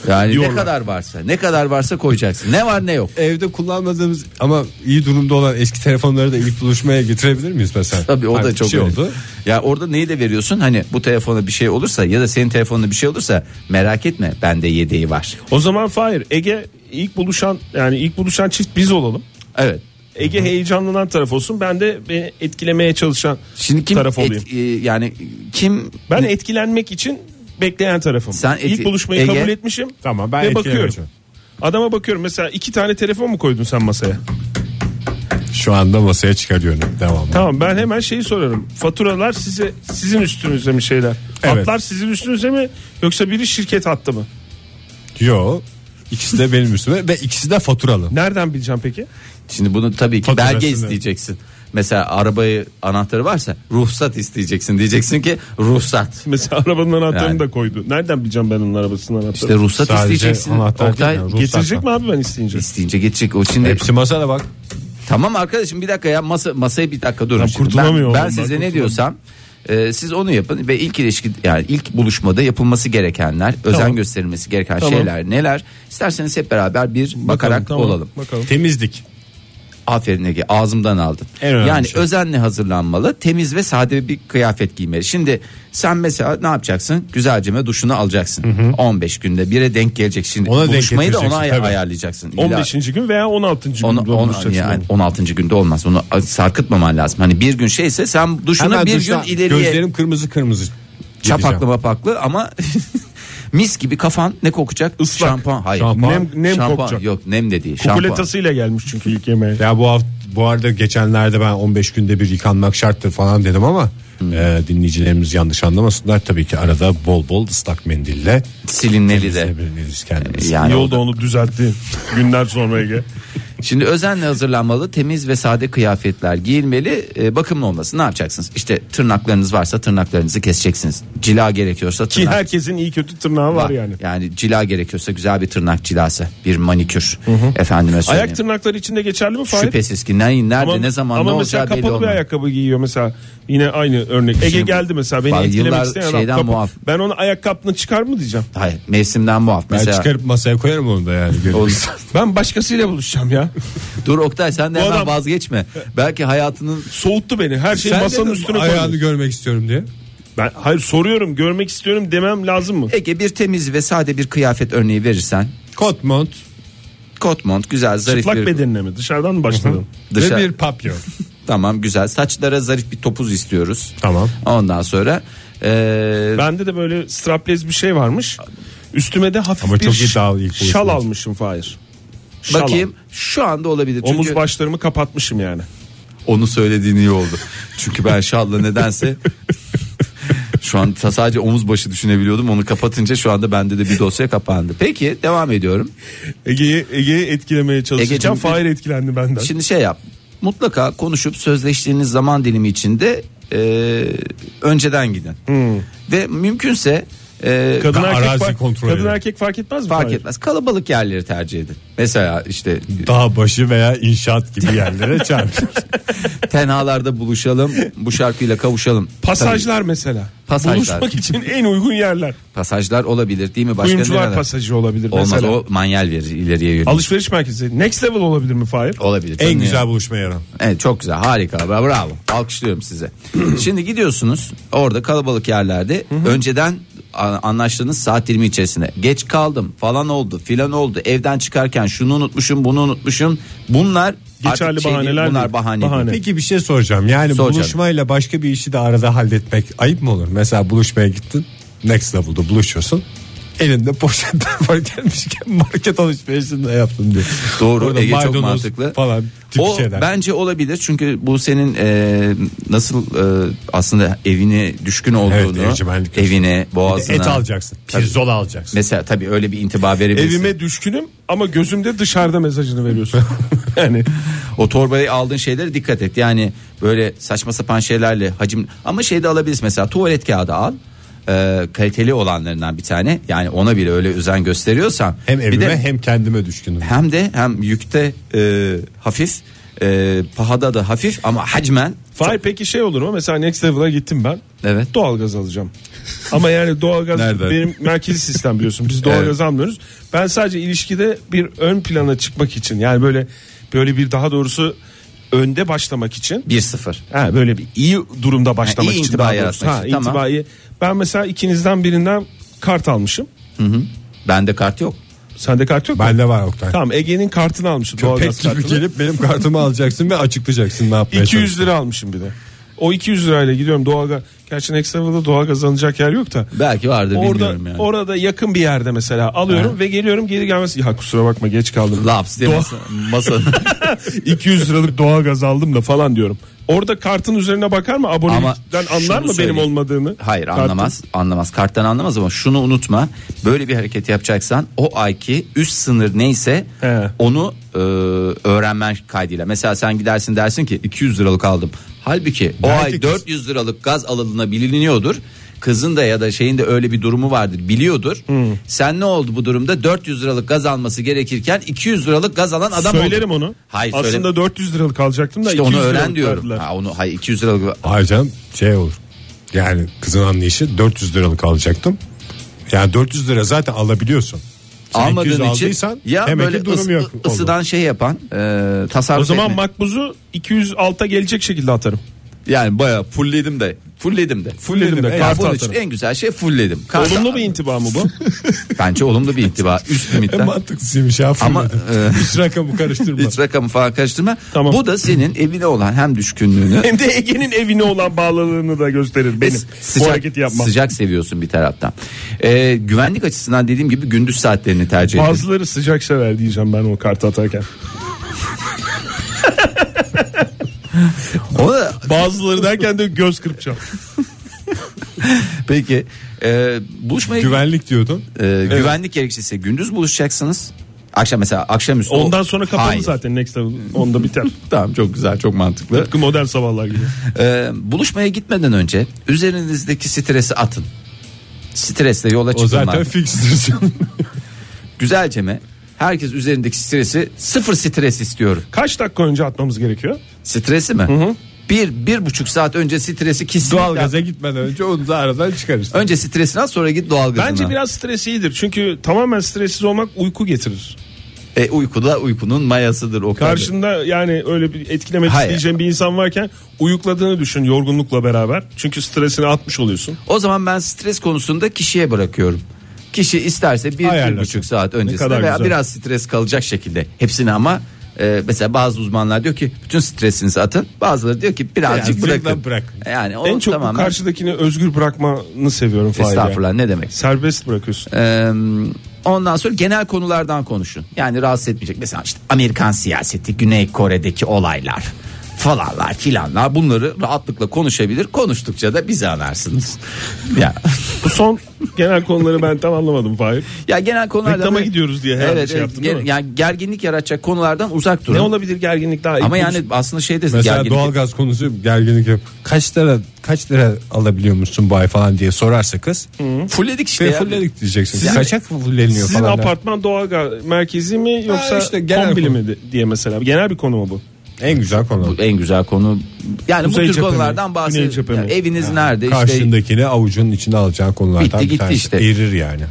Speaker 5: yani ne
Speaker 4: diyorlar.
Speaker 5: kadar varsa, ne kadar varsa koyacaksın. Ne var ne yok.
Speaker 1: Evde kullanmadığımız ama iyi durumda olan eski telefonları da ilk buluşmaya getirebilir miyiz mesela?
Speaker 5: Tabii o da
Speaker 1: Artık
Speaker 5: çok
Speaker 1: şey
Speaker 5: önemli.
Speaker 1: oldu.
Speaker 5: Ya orada neyi de veriyorsun? Hani bu telefona bir şey olursa ya da senin telefonuna bir şey olursa merak etme bende yedeği var.
Speaker 4: O zaman Fahir Ege ilk buluşan yani ilk buluşan çift biz olalım.
Speaker 5: Evet.
Speaker 4: Ege heyecanlanan taraf olsun. Ben de beni etkilemeye çalışan
Speaker 5: Şimdi kim
Speaker 4: taraf olayım.
Speaker 5: et- e, yani kim
Speaker 4: ben etkilenmek için bekleyen tarafım.
Speaker 5: Sen eti-
Speaker 4: İlk buluşmayı
Speaker 5: Ege-
Speaker 4: kabul etmişim.
Speaker 1: Tamam, ben
Speaker 4: Ve bakıyorum.
Speaker 1: etkilemeyeceğim.
Speaker 4: Adama bakıyorum mesela iki tane telefon mu koydun sen masaya?
Speaker 1: Şu anda masaya çıkarıyorum devamlı.
Speaker 4: Tamam ben hemen şeyi sorarım. Faturalar size sizin üstünüze mi şeyler?
Speaker 1: Evet.
Speaker 4: Hatlar sizin üstünüze mi yoksa biri şirket hattı mı?
Speaker 1: Yo. İkisi de benim üstüme ve ikisi de faturalı.
Speaker 4: Nereden bileceğim peki?
Speaker 5: Şimdi bunu tabii ki
Speaker 1: Faturasını.
Speaker 5: belge isteyeceksin. Mesela arabayı anahtarı varsa ruhsat isteyeceksin. Diyeceksin ki ruhsat.
Speaker 4: Mesela arabanın anahtarını
Speaker 5: Yani.
Speaker 4: da koydu. Nereden bileceğim ben onun arabasının anahtarını?
Speaker 5: İşte ruhsat
Speaker 1: Sadece
Speaker 5: isteyeceksin.
Speaker 1: anahtar değil
Speaker 5: Oktay
Speaker 1: yani, ruhsat.
Speaker 4: Getirecek mi abi ben isteyince?
Speaker 5: isteyince geçecek. O şimdi
Speaker 1: Hepsi masada bak.
Speaker 5: Tamam arkadaşım bir dakika ya masa masaya bir dakika durun.
Speaker 4: Ben
Speaker 5: şimdi.
Speaker 4: kurtulamıyorum
Speaker 5: Ben, ben
Speaker 4: ondan,
Speaker 5: size ne
Speaker 4: kurtulamıyorum.
Speaker 5: diyorsam e, siz onu yapın ve ilk ilişki yani ilk buluşmada yapılması gerekenler, özen gösterilmesi gereken şeyler neler? İsterseniz hep beraber bir bakarak
Speaker 4: tamam.
Speaker 5: olalım.
Speaker 4: Bakalım.
Speaker 1: Temizlik.
Speaker 5: Aferin Ege ağzımdan aldın.
Speaker 1: En önemli
Speaker 5: yani
Speaker 1: şey.
Speaker 5: özenle hazırlanmalı temiz ve sade bir kıyafet giymeli. Şimdi sen mesela ne yapacaksın? Güzelceme duşunu alacaksın. 15 günde bire denk gelecek. Şimdi
Speaker 1: Ona denk
Speaker 5: buluşmayı da ona
Speaker 1: getireceksin,
Speaker 5: ay-
Speaker 1: tabii.
Speaker 5: ayarlayacaksın. İlla-
Speaker 4: 15. gün veya 16. gün
Speaker 5: On, on,
Speaker 4: buluşacaksın
Speaker 5: yani
Speaker 4: onu.
Speaker 5: 16. günde olmaz. Onu sarkıtmaman lazım. Hani bir gün şeyse sen duşuna
Speaker 1: Hemen
Speaker 5: bir
Speaker 1: duştan
Speaker 5: gün ileriye
Speaker 1: Gözlerim kırmızı kırmızı.
Speaker 5: çapaklı
Speaker 1: gideceğim.
Speaker 5: mapaklı ama mis gibi kafan ne kokacak?
Speaker 4: Islak.
Speaker 5: Şampuan. Hayır.
Speaker 1: Şampuan.
Speaker 4: Nem- nem
Speaker 5: Şampuan.
Speaker 4: kokacak.
Speaker 5: Yok nem de değil. Şampuan.
Speaker 4: Kukuletasıyla gelmiş çünkü ilk yemeğe.
Speaker 1: Ya bu hafta bu arada geçenlerde ben 15 günde bir yıkanmak şarttır falan dedim ama e, dinleyicilerimiz yanlış anlamasınlar tabii ki arada bol bol ıslak mendille
Speaker 5: Silinmeli de.
Speaker 1: temizleyebiliriz kendimizi.
Speaker 5: Yani
Speaker 4: Yolda onu düzeltti günler sonra Ege.
Speaker 5: Şimdi özenle hazırlanmalı, temiz ve sade kıyafetler giyilmeli, e, bakımlı olması. Ne yapacaksınız? İşte tırnaklarınız varsa tırnaklarınızı keseceksiniz. Cila gerekiyorsa
Speaker 4: Ki
Speaker 5: tırnak
Speaker 4: herkesin iyi kötü tırnağı var yani.
Speaker 5: Yani cila gerekiyorsa güzel bir tırnak cilası, bir manikür. Efendime söyleyeyim.
Speaker 4: Ayak tırnakları içinde geçerli mi Fahir?
Speaker 5: Şüphesiz ki ne, nerede
Speaker 4: Ama-
Speaker 5: ne zaman
Speaker 4: ama
Speaker 5: ne
Speaker 4: mesela
Speaker 5: olacağı belli
Speaker 4: kapalı bir
Speaker 5: olmaz.
Speaker 4: ayakkabı giyiyor mesela yine aynı örnek. Ege
Speaker 5: Şimdi-
Speaker 4: geldi mesela beni
Speaker 5: Bak,
Speaker 4: etkilemek
Speaker 5: yıllar
Speaker 4: isteyen adam.
Speaker 5: şeyden
Speaker 4: Kapı-
Speaker 5: muaf.
Speaker 4: Ben ona ayakkabını çıkar mı diyeceğim.
Speaker 5: Hayır mevsimden muaf.
Speaker 1: Ben
Speaker 5: Mesela,
Speaker 1: çıkarıp masaya koyarım onu da yani.
Speaker 5: Olsun.
Speaker 4: Ben başkasıyla buluşacağım ya.
Speaker 5: Dur Oktay sen de
Speaker 4: Bu
Speaker 5: hemen
Speaker 4: adam-
Speaker 5: vazgeçme. Belki hayatının
Speaker 4: Soğuttu beni. Her şeyi
Speaker 1: Sen
Speaker 4: masanın
Speaker 1: dedin,
Speaker 4: üstüne
Speaker 1: ayağını
Speaker 4: koydu.
Speaker 1: görmek istiyorum diye.
Speaker 4: Ben hayır soruyorum, görmek istiyorum demem lazım mı?
Speaker 5: Ege bir temiz ve sade bir kıyafet örneği verirsen
Speaker 1: Kot mont
Speaker 5: kot mont güzel zarif
Speaker 4: Çıplak
Speaker 5: bir
Speaker 4: bedenine mi? Dışarıdan mı başladın?
Speaker 5: Dışa-
Speaker 1: ve bir papyon.
Speaker 5: Tamam güzel. Saçlara zarif bir topuz istiyoruz.
Speaker 1: Tamam.
Speaker 5: Ondan sonra eee,
Speaker 4: Bende de böyle straplez bir şey varmış. Üstüme de hafif
Speaker 1: Ama
Speaker 4: bir
Speaker 1: çok
Speaker 4: ş-
Speaker 1: iddialı ilk
Speaker 4: şal
Speaker 1: buluşmada.
Speaker 4: almışım Fahir. Şal
Speaker 5: bakayım
Speaker 4: al-
Speaker 5: şu anda olabilir. Çünkü
Speaker 4: Omuz başlarımı kapatmışım yani.
Speaker 5: onu söylediğin iyi oldu. Çünkü ben şalla nedense şu an ta- sadece omuz başı düşünebiliyordum. Onu kapatınca şu anda bende de bir dosya kapandı. Peki devam ediyorum.
Speaker 4: Ege'yi Ege'yi etkilemeye çalışacağım.
Speaker 5: Ege'cim-
Speaker 4: Fahir etkilendi benden.
Speaker 5: Şimdi şey yap. Mutlaka konuşup sözleştiğiniz zaman dilimi içinde eee, önceden gidin.
Speaker 4: Hmm.
Speaker 5: Ve mümkünse eee,
Speaker 4: kadın erkek
Speaker 1: arazi
Speaker 4: fark,
Speaker 1: kontrolü.
Speaker 4: kadın erkek fark etmez mi?
Speaker 5: fark
Speaker 4: Fahir?
Speaker 5: etmez. Kalabalık yerleri tercih edin. Mesela işte
Speaker 1: Dağ başı veya inşaat gibi yerlere çarptı.
Speaker 5: tenhalarda buluşalım. Bu şarkıyla kavuşalım.
Speaker 4: Pasajlar mesela.
Speaker 5: Pasajlar.
Speaker 4: Buluşmak için en uygun yerler.
Speaker 5: Tabii pasajlar olabilir değil mi? Başka
Speaker 4: Kuyumcular
Speaker 5: neler?
Speaker 4: pasajı olabilir
Speaker 5: Olmaz
Speaker 4: mesela.
Speaker 5: o manyel verir ileriye yönelik.
Speaker 4: Alışveriş merkezi. Next level olabilir mi Fahir?
Speaker 5: olabilir.
Speaker 1: en
Speaker 5: Canım
Speaker 1: güzel
Speaker 5: ya.
Speaker 1: buluşma yaran.
Speaker 5: Evet, çok güzel. Harika. Bra- Bravo. Alkışlıyorum size. Şimdi gidiyorsunuz. Orada kalabalık yerlerde önceden a- anlaştığınız saat dilimi içerisinde geç kaldım falan oldu filan oldu evden çıkarken şunu unutmuşum bunu unutmuşum bunlar
Speaker 4: Geçerli
Speaker 5: artık şey değil,
Speaker 4: bahaneler
Speaker 5: bunlar
Speaker 4: değil.
Speaker 5: bahane,
Speaker 4: Bahane.
Speaker 5: değil.
Speaker 1: Peki bir şey soracağım. Yani
Speaker 5: Sor canım.
Speaker 1: buluşmayla başka bir işi de arada halletmek ayıp mı olur? Mesela buluşmaya gittin. Next level'da buluşuyorsun. Elinde poşetler var gelmişken market alışverişini de yaptın diye.
Speaker 5: Doğru,
Speaker 1: Orada
Speaker 5: Ege çok
Speaker 1: maydanoz
Speaker 5: mantıklı.
Speaker 1: Falan tip
Speaker 5: O
Speaker 1: şeyler.
Speaker 5: bence olabilir çünkü bu senin e, nasıl e, aslında evine düşkün olduğunu,
Speaker 1: evcimenlik.
Speaker 5: evine,
Speaker 1: Bir de
Speaker 5: boğazına.
Speaker 1: Et alacaksın.
Speaker 5: Tabii.
Speaker 1: Pirzola alacaksın.
Speaker 5: Mesela tabii öyle bir intiba verebilirsin.
Speaker 4: Evime düşkünüm ama gözümde dışarıda mesajını veriyorsun. yani
Speaker 5: O torbaya aldığın şeylere dikkat et. Yani böyle saçma sapan şeylerle hacim ama şey de alabilirsin mesela tuvalet kağıdı al. E, kaliteli olanlarından bir tane. Yani ona bile öyle özen gösteriyorsan
Speaker 1: Hem
Speaker 5: bir
Speaker 1: evime
Speaker 5: de
Speaker 1: hem kendime düşkünüm.
Speaker 5: hem de hem yükte e, hafif, e, pahada da hafif ama hacmen
Speaker 4: Fahir peki şey olur mu? Mesela Next Level'a gittim ben.
Speaker 5: Evet.
Speaker 4: Doğalgaz alacağım. Ama yani doğalgaz
Speaker 5: Nereden?
Speaker 4: benim merkezi sistem biliyorsun. Biz doğalgaz almıyoruz. Ben sadece ilişkide bir ön plana çıkmak için yani böyle böyle bir daha doğrusu önde başlamak için
Speaker 5: 1-0.
Speaker 4: Ha, böyle bir iyi durumda başlamak
Speaker 5: Ha, iyi
Speaker 4: için.
Speaker 5: intiba
Speaker 4: daha doğrusu.
Speaker 5: yaratmak
Speaker 4: ha,
Speaker 5: için, tamam.
Speaker 4: intibayı- Ben mesela ikinizden birinden kart almışım.
Speaker 5: Bende kart yok.
Speaker 4: Sende kart yok mu?
Speaker 1: Bende var Oktay.
Speaker 4: Tamam Ege'nin kartını almışım.
Speaker 1: Köpek
Speaker 4: doğalgaz
Speaker 1: gibi
Speaker 4: kartını.
Speaker 1: gelip benim kartımı alacaksın ve açıklayacaksın ne yapmaya
Speaker 4: 200 lira almışım bir de. O 200 lirayla gidiyorum doğalgaz. Gerçi Next Level'da doğalgaz alınacak yer yok da.
Speaker 5: Belki vardır
Speaker 4: Orada,
Speaker 5: bilmiyorum yani.
Speaker 4: orada yakın bir yerde mesela alıyorum ve geliyorum geri gelmez. Ya kusura bakma geç kaldım.
Speaker 5: Laps diye masa, masa-
Speaker 4: 200 liralık doğalgaz aldım da falan diyorum. Orada kartın üzerine bakar mı? Abonelikten
Speaker 5: Ama şunu
Speaker 4: anlar mı benim
Speaker 5: söyleyeyim.
Speaker 4: olmadığını?
Speaker 5: Hayır
Speaker 4: Kartın.
Speaker 5: anlamaz. Anlamaz. Karttan anlamaz ama şunu unutma. Böyle bir hareket yapacaksan o ayki üst sınır neyse
Speaker 4: He.
Speaker 5: onu e, öğrenmen kaydıyla. Mesela sen gidersin dersin ki 200 liralık aldım. Halbuki o
Speaker 1: Belki
Speaker 5: ay
Speaker 1: kız-
Speaker 5: 400 liralık gaz alındığına biliniyordur. Kızın da ya da şeyin de öyle bir durumu vardır biliyordur. Sen ne oldu bu durumda 400 liralık gaz alması gerekirken 200 liralık gaz alan adam oldu.
Speaker 4: Söylerim onu.
Speaker 5: Hayır
Speaker 4: Aslında
Speaker 5: söyleme.
Speaker 4: 400 liralık alacaktım da
Speaker 5: İşte
Speaker 4: 200
Speaker 5: onu öğren
Speaker 4: liralık
Speaker 5: diyorum.
Speaker 4: verdiler.
Speaker 5: Ha, onu hayır 200 liralık
Speaker 1: Hayır canım şey olur. Yani kızın anlayışı 400 liralık alacaktım. Yani 400 lira zaten alabiliyorsun. Sen 200
Speaker 5: almadığın için
Speaker 1: aldıysan
Speaker 5: ya
Speaker 1: demek
Speaker 5: böyle
Speaker 1: ki durum
Speaker 5: ısı-
Speaker 1: yok. oldu.
Speaker 5: ısıdan şey yapan e, tasarruf
Speaker 4: O zaman
Speaker 5: etme.
Speaker 4: makbuzu 206'a gelecek şekilde atarım.
Speaker 5: yani baya fullledim de fullledim de
Speaker 4: Fullledim de,
Speaker 5: Ya
Speaker 4: kartı
Speaker 5: bunun
Speaker 4: atarım.
Speaker 5: için en güzel şey fullledim. Kartı-
Speaker 4: Olumlu bir intiba mı bu?
Speaker 5: Bence olumlu bir intiba üst
Speaker 1: En
Speaker 5: limitten.
Speaker 1: mantıksızmış ya.
Speaker 5: Ama, e,
Speaker 1: Ama hiç rakamı karıştırma.
Speaker 5: Hiç rakamı falan karıştırma.
Speaker 4: Tamam.
Speaker 5: Bu da senin evine olan hem düşkünlüğünü
Speaker 4: Hem de Ege'nin evine olan bağlılığını da gösterir benim. bu hareketi yapmam.
Speaker 5: Sıcak seviyorsun bir taraftan. Ee, güvenlik açısından dediğim gibi gündüz saatlerini tercih ediyorsun.
Speaker 4: Bazıları sıcak sever diyeceğim ben o kartı atarken.
Speaker 5: O da
Speaker 4: Bazıları derken de göz kırpacağım.
Speaker 5: peki e, buluşmaya
Speaker 1: Güvenlik diyordun.
Speaker 5: Ee, Güvenlik gerekçesi gündüz buluşacaksınız. Akşam mesela akşamüstü.
Speaker 4: Ondan sonra kapalı
Speaker 5: Hayır.
Speaker 4: zaten next level. Onda biter.
Speaker 5: Tamam çok güzel çok mantıklı.
Speaker 4: Tıpkı modern sabahlar gibi.
Speaker 5: Ee, buluşmaya gitmeden önce üzerinizdeki stresi atın. Stresle yola
Speaker 1: O
Speaker 5: çıkın.
Speaker 1: zaten
Speaker 5: abi.
Speaker 1: fikstir canım.
Speaker 5: Güzelce mi? Herkes üzerindeki stresi sıfır stres istiyor.
Speaker 4: Kaç dakika önce atmamız gerekiyor?
Speaker 5: Stresi mi? Bir, bir buçuk saat önce stresi kesinlikle.
Speaker 1: Doğalgaza gitmeden önce onu da aradan çıkarırsın.
Speaker 5: Önce stresini al sonra git doğalgazına.
Speaker 4: Bence biraz stres iyidir. Çünkü tamamen stressiz olmak uyku getirir.
Speaker 5: E, uykuda uykunun mayasıdır o kadar.
Speaker 4: Karşında yani öyle bir etkilemek
Speaker 5: Hayır.
Speaker 4: isteyeceğin bir insan varken uyukladığını düşün yorgunlukla beraber. Çünkü stresini atmış oluyorsun.
Speaker 5: O zaman ben stres konusunda kişiye bırakıyorum. Kişi isterse bir, bir
Speaker 1: Ayarlasın.
Speaker 5: buçuk saat
Speaker 4: kadar
Speaker 5: öncesinde veya
Speaker 4: güzel.
Speaker 5: biraz stres kalacak şekilde. Hepsini ama e, mesela bazı uzmanlar diyor ki bütün stresinizi atın. Bazıları diyor ki birazcık
Speaker 1: Birazcık da
Speaker 5: bırakın.
Speaker 1: bırakın.
Speaker 5: Yani o
Speaker 4: en çok bu
Speaker 5: tamamen
Speaker 4: karşıdakini özgür bırakmanı seviyorum Fahir. ya.
Speaker 5: estağfurullah ne demek.
Speaker 4: Serbest bırakıyorsun.
Speaker 5: Ee, ondan sonra genel konulardan konuşun. Yani rahatsız etmeyecek. Mesela işte Amerikan siyaseti, Güney Kore'deki olaylar falanlar filanlar bunları rahatlıkla konuşabilir. Konuştukça da bizi anarsınız. ya
Speaker 4: Bu son genel konuları ben tam anlamadım Fahir.
Speaker 5: Ya genel konularda
Speaker 4: Reklama
Speaker 5: böyle-
Speaker 4: gidiyoruz diye herhalde
Speaker 5: Evet,
Speaker 4: şey
Speaker 5: evet.
Speaker 4: yaptın
Speaker 5: Ger-
Speaker 4: değil mi?
Speaker 5: yani gerginlik yaratacak konulardan uzak durun.
Speaker 4: Ne olabilir gerginlik daha iyi?
Speaker 5: Ama yani aslında şey de
Speaker 1: Mesela
Speaker 5: gerginlik.
Speaker 1: doğalgaz konusu gerginlik yap. Kaç lira kaç lira alabiliyor musun bay falan diye sorarsa kız.
Speaker 5: fulledik işte.
Speaker 4: Şey
Speaker 1: Ve
Speaker 5: ya.
Speaker 1: fulledik diyeceksin.
Speaker 5: Sizin-
Speaker 1: Kaçak fulleniyor
Speaker 4: Sizin
Speaker 1: falan.
Speaker 4: apartman doğalgaz merkezi mi yoksa
Speaker 1: işte genel
Speaker 4: kombili
Speaker 1: konu.
Speaker 4: mi di- diye mesela. Genel bir konu mu bu?
Speaker 1: En güzel konu.
Speaker 5: En güzel konu. Yani
Speaker 4: Kuzey
Speaker 5: bu tür
Speaker 4: cephe mi?
Speaker 5: konulardan
Speaker 4: Güney cephe
Speaker 5: bahsediyorum.
Speaker 4: mi?
Speaker 5: eviniz nerede? işte
Speaker 1: Karşındakini avucunun içine alacağın konulardan
Speaker 5: Bitti
Speaker 1: bir
Speaker 5: gitti
Speaker 1: tanesi.
Speaker 5: işte.
Speaker 1: Erir yani.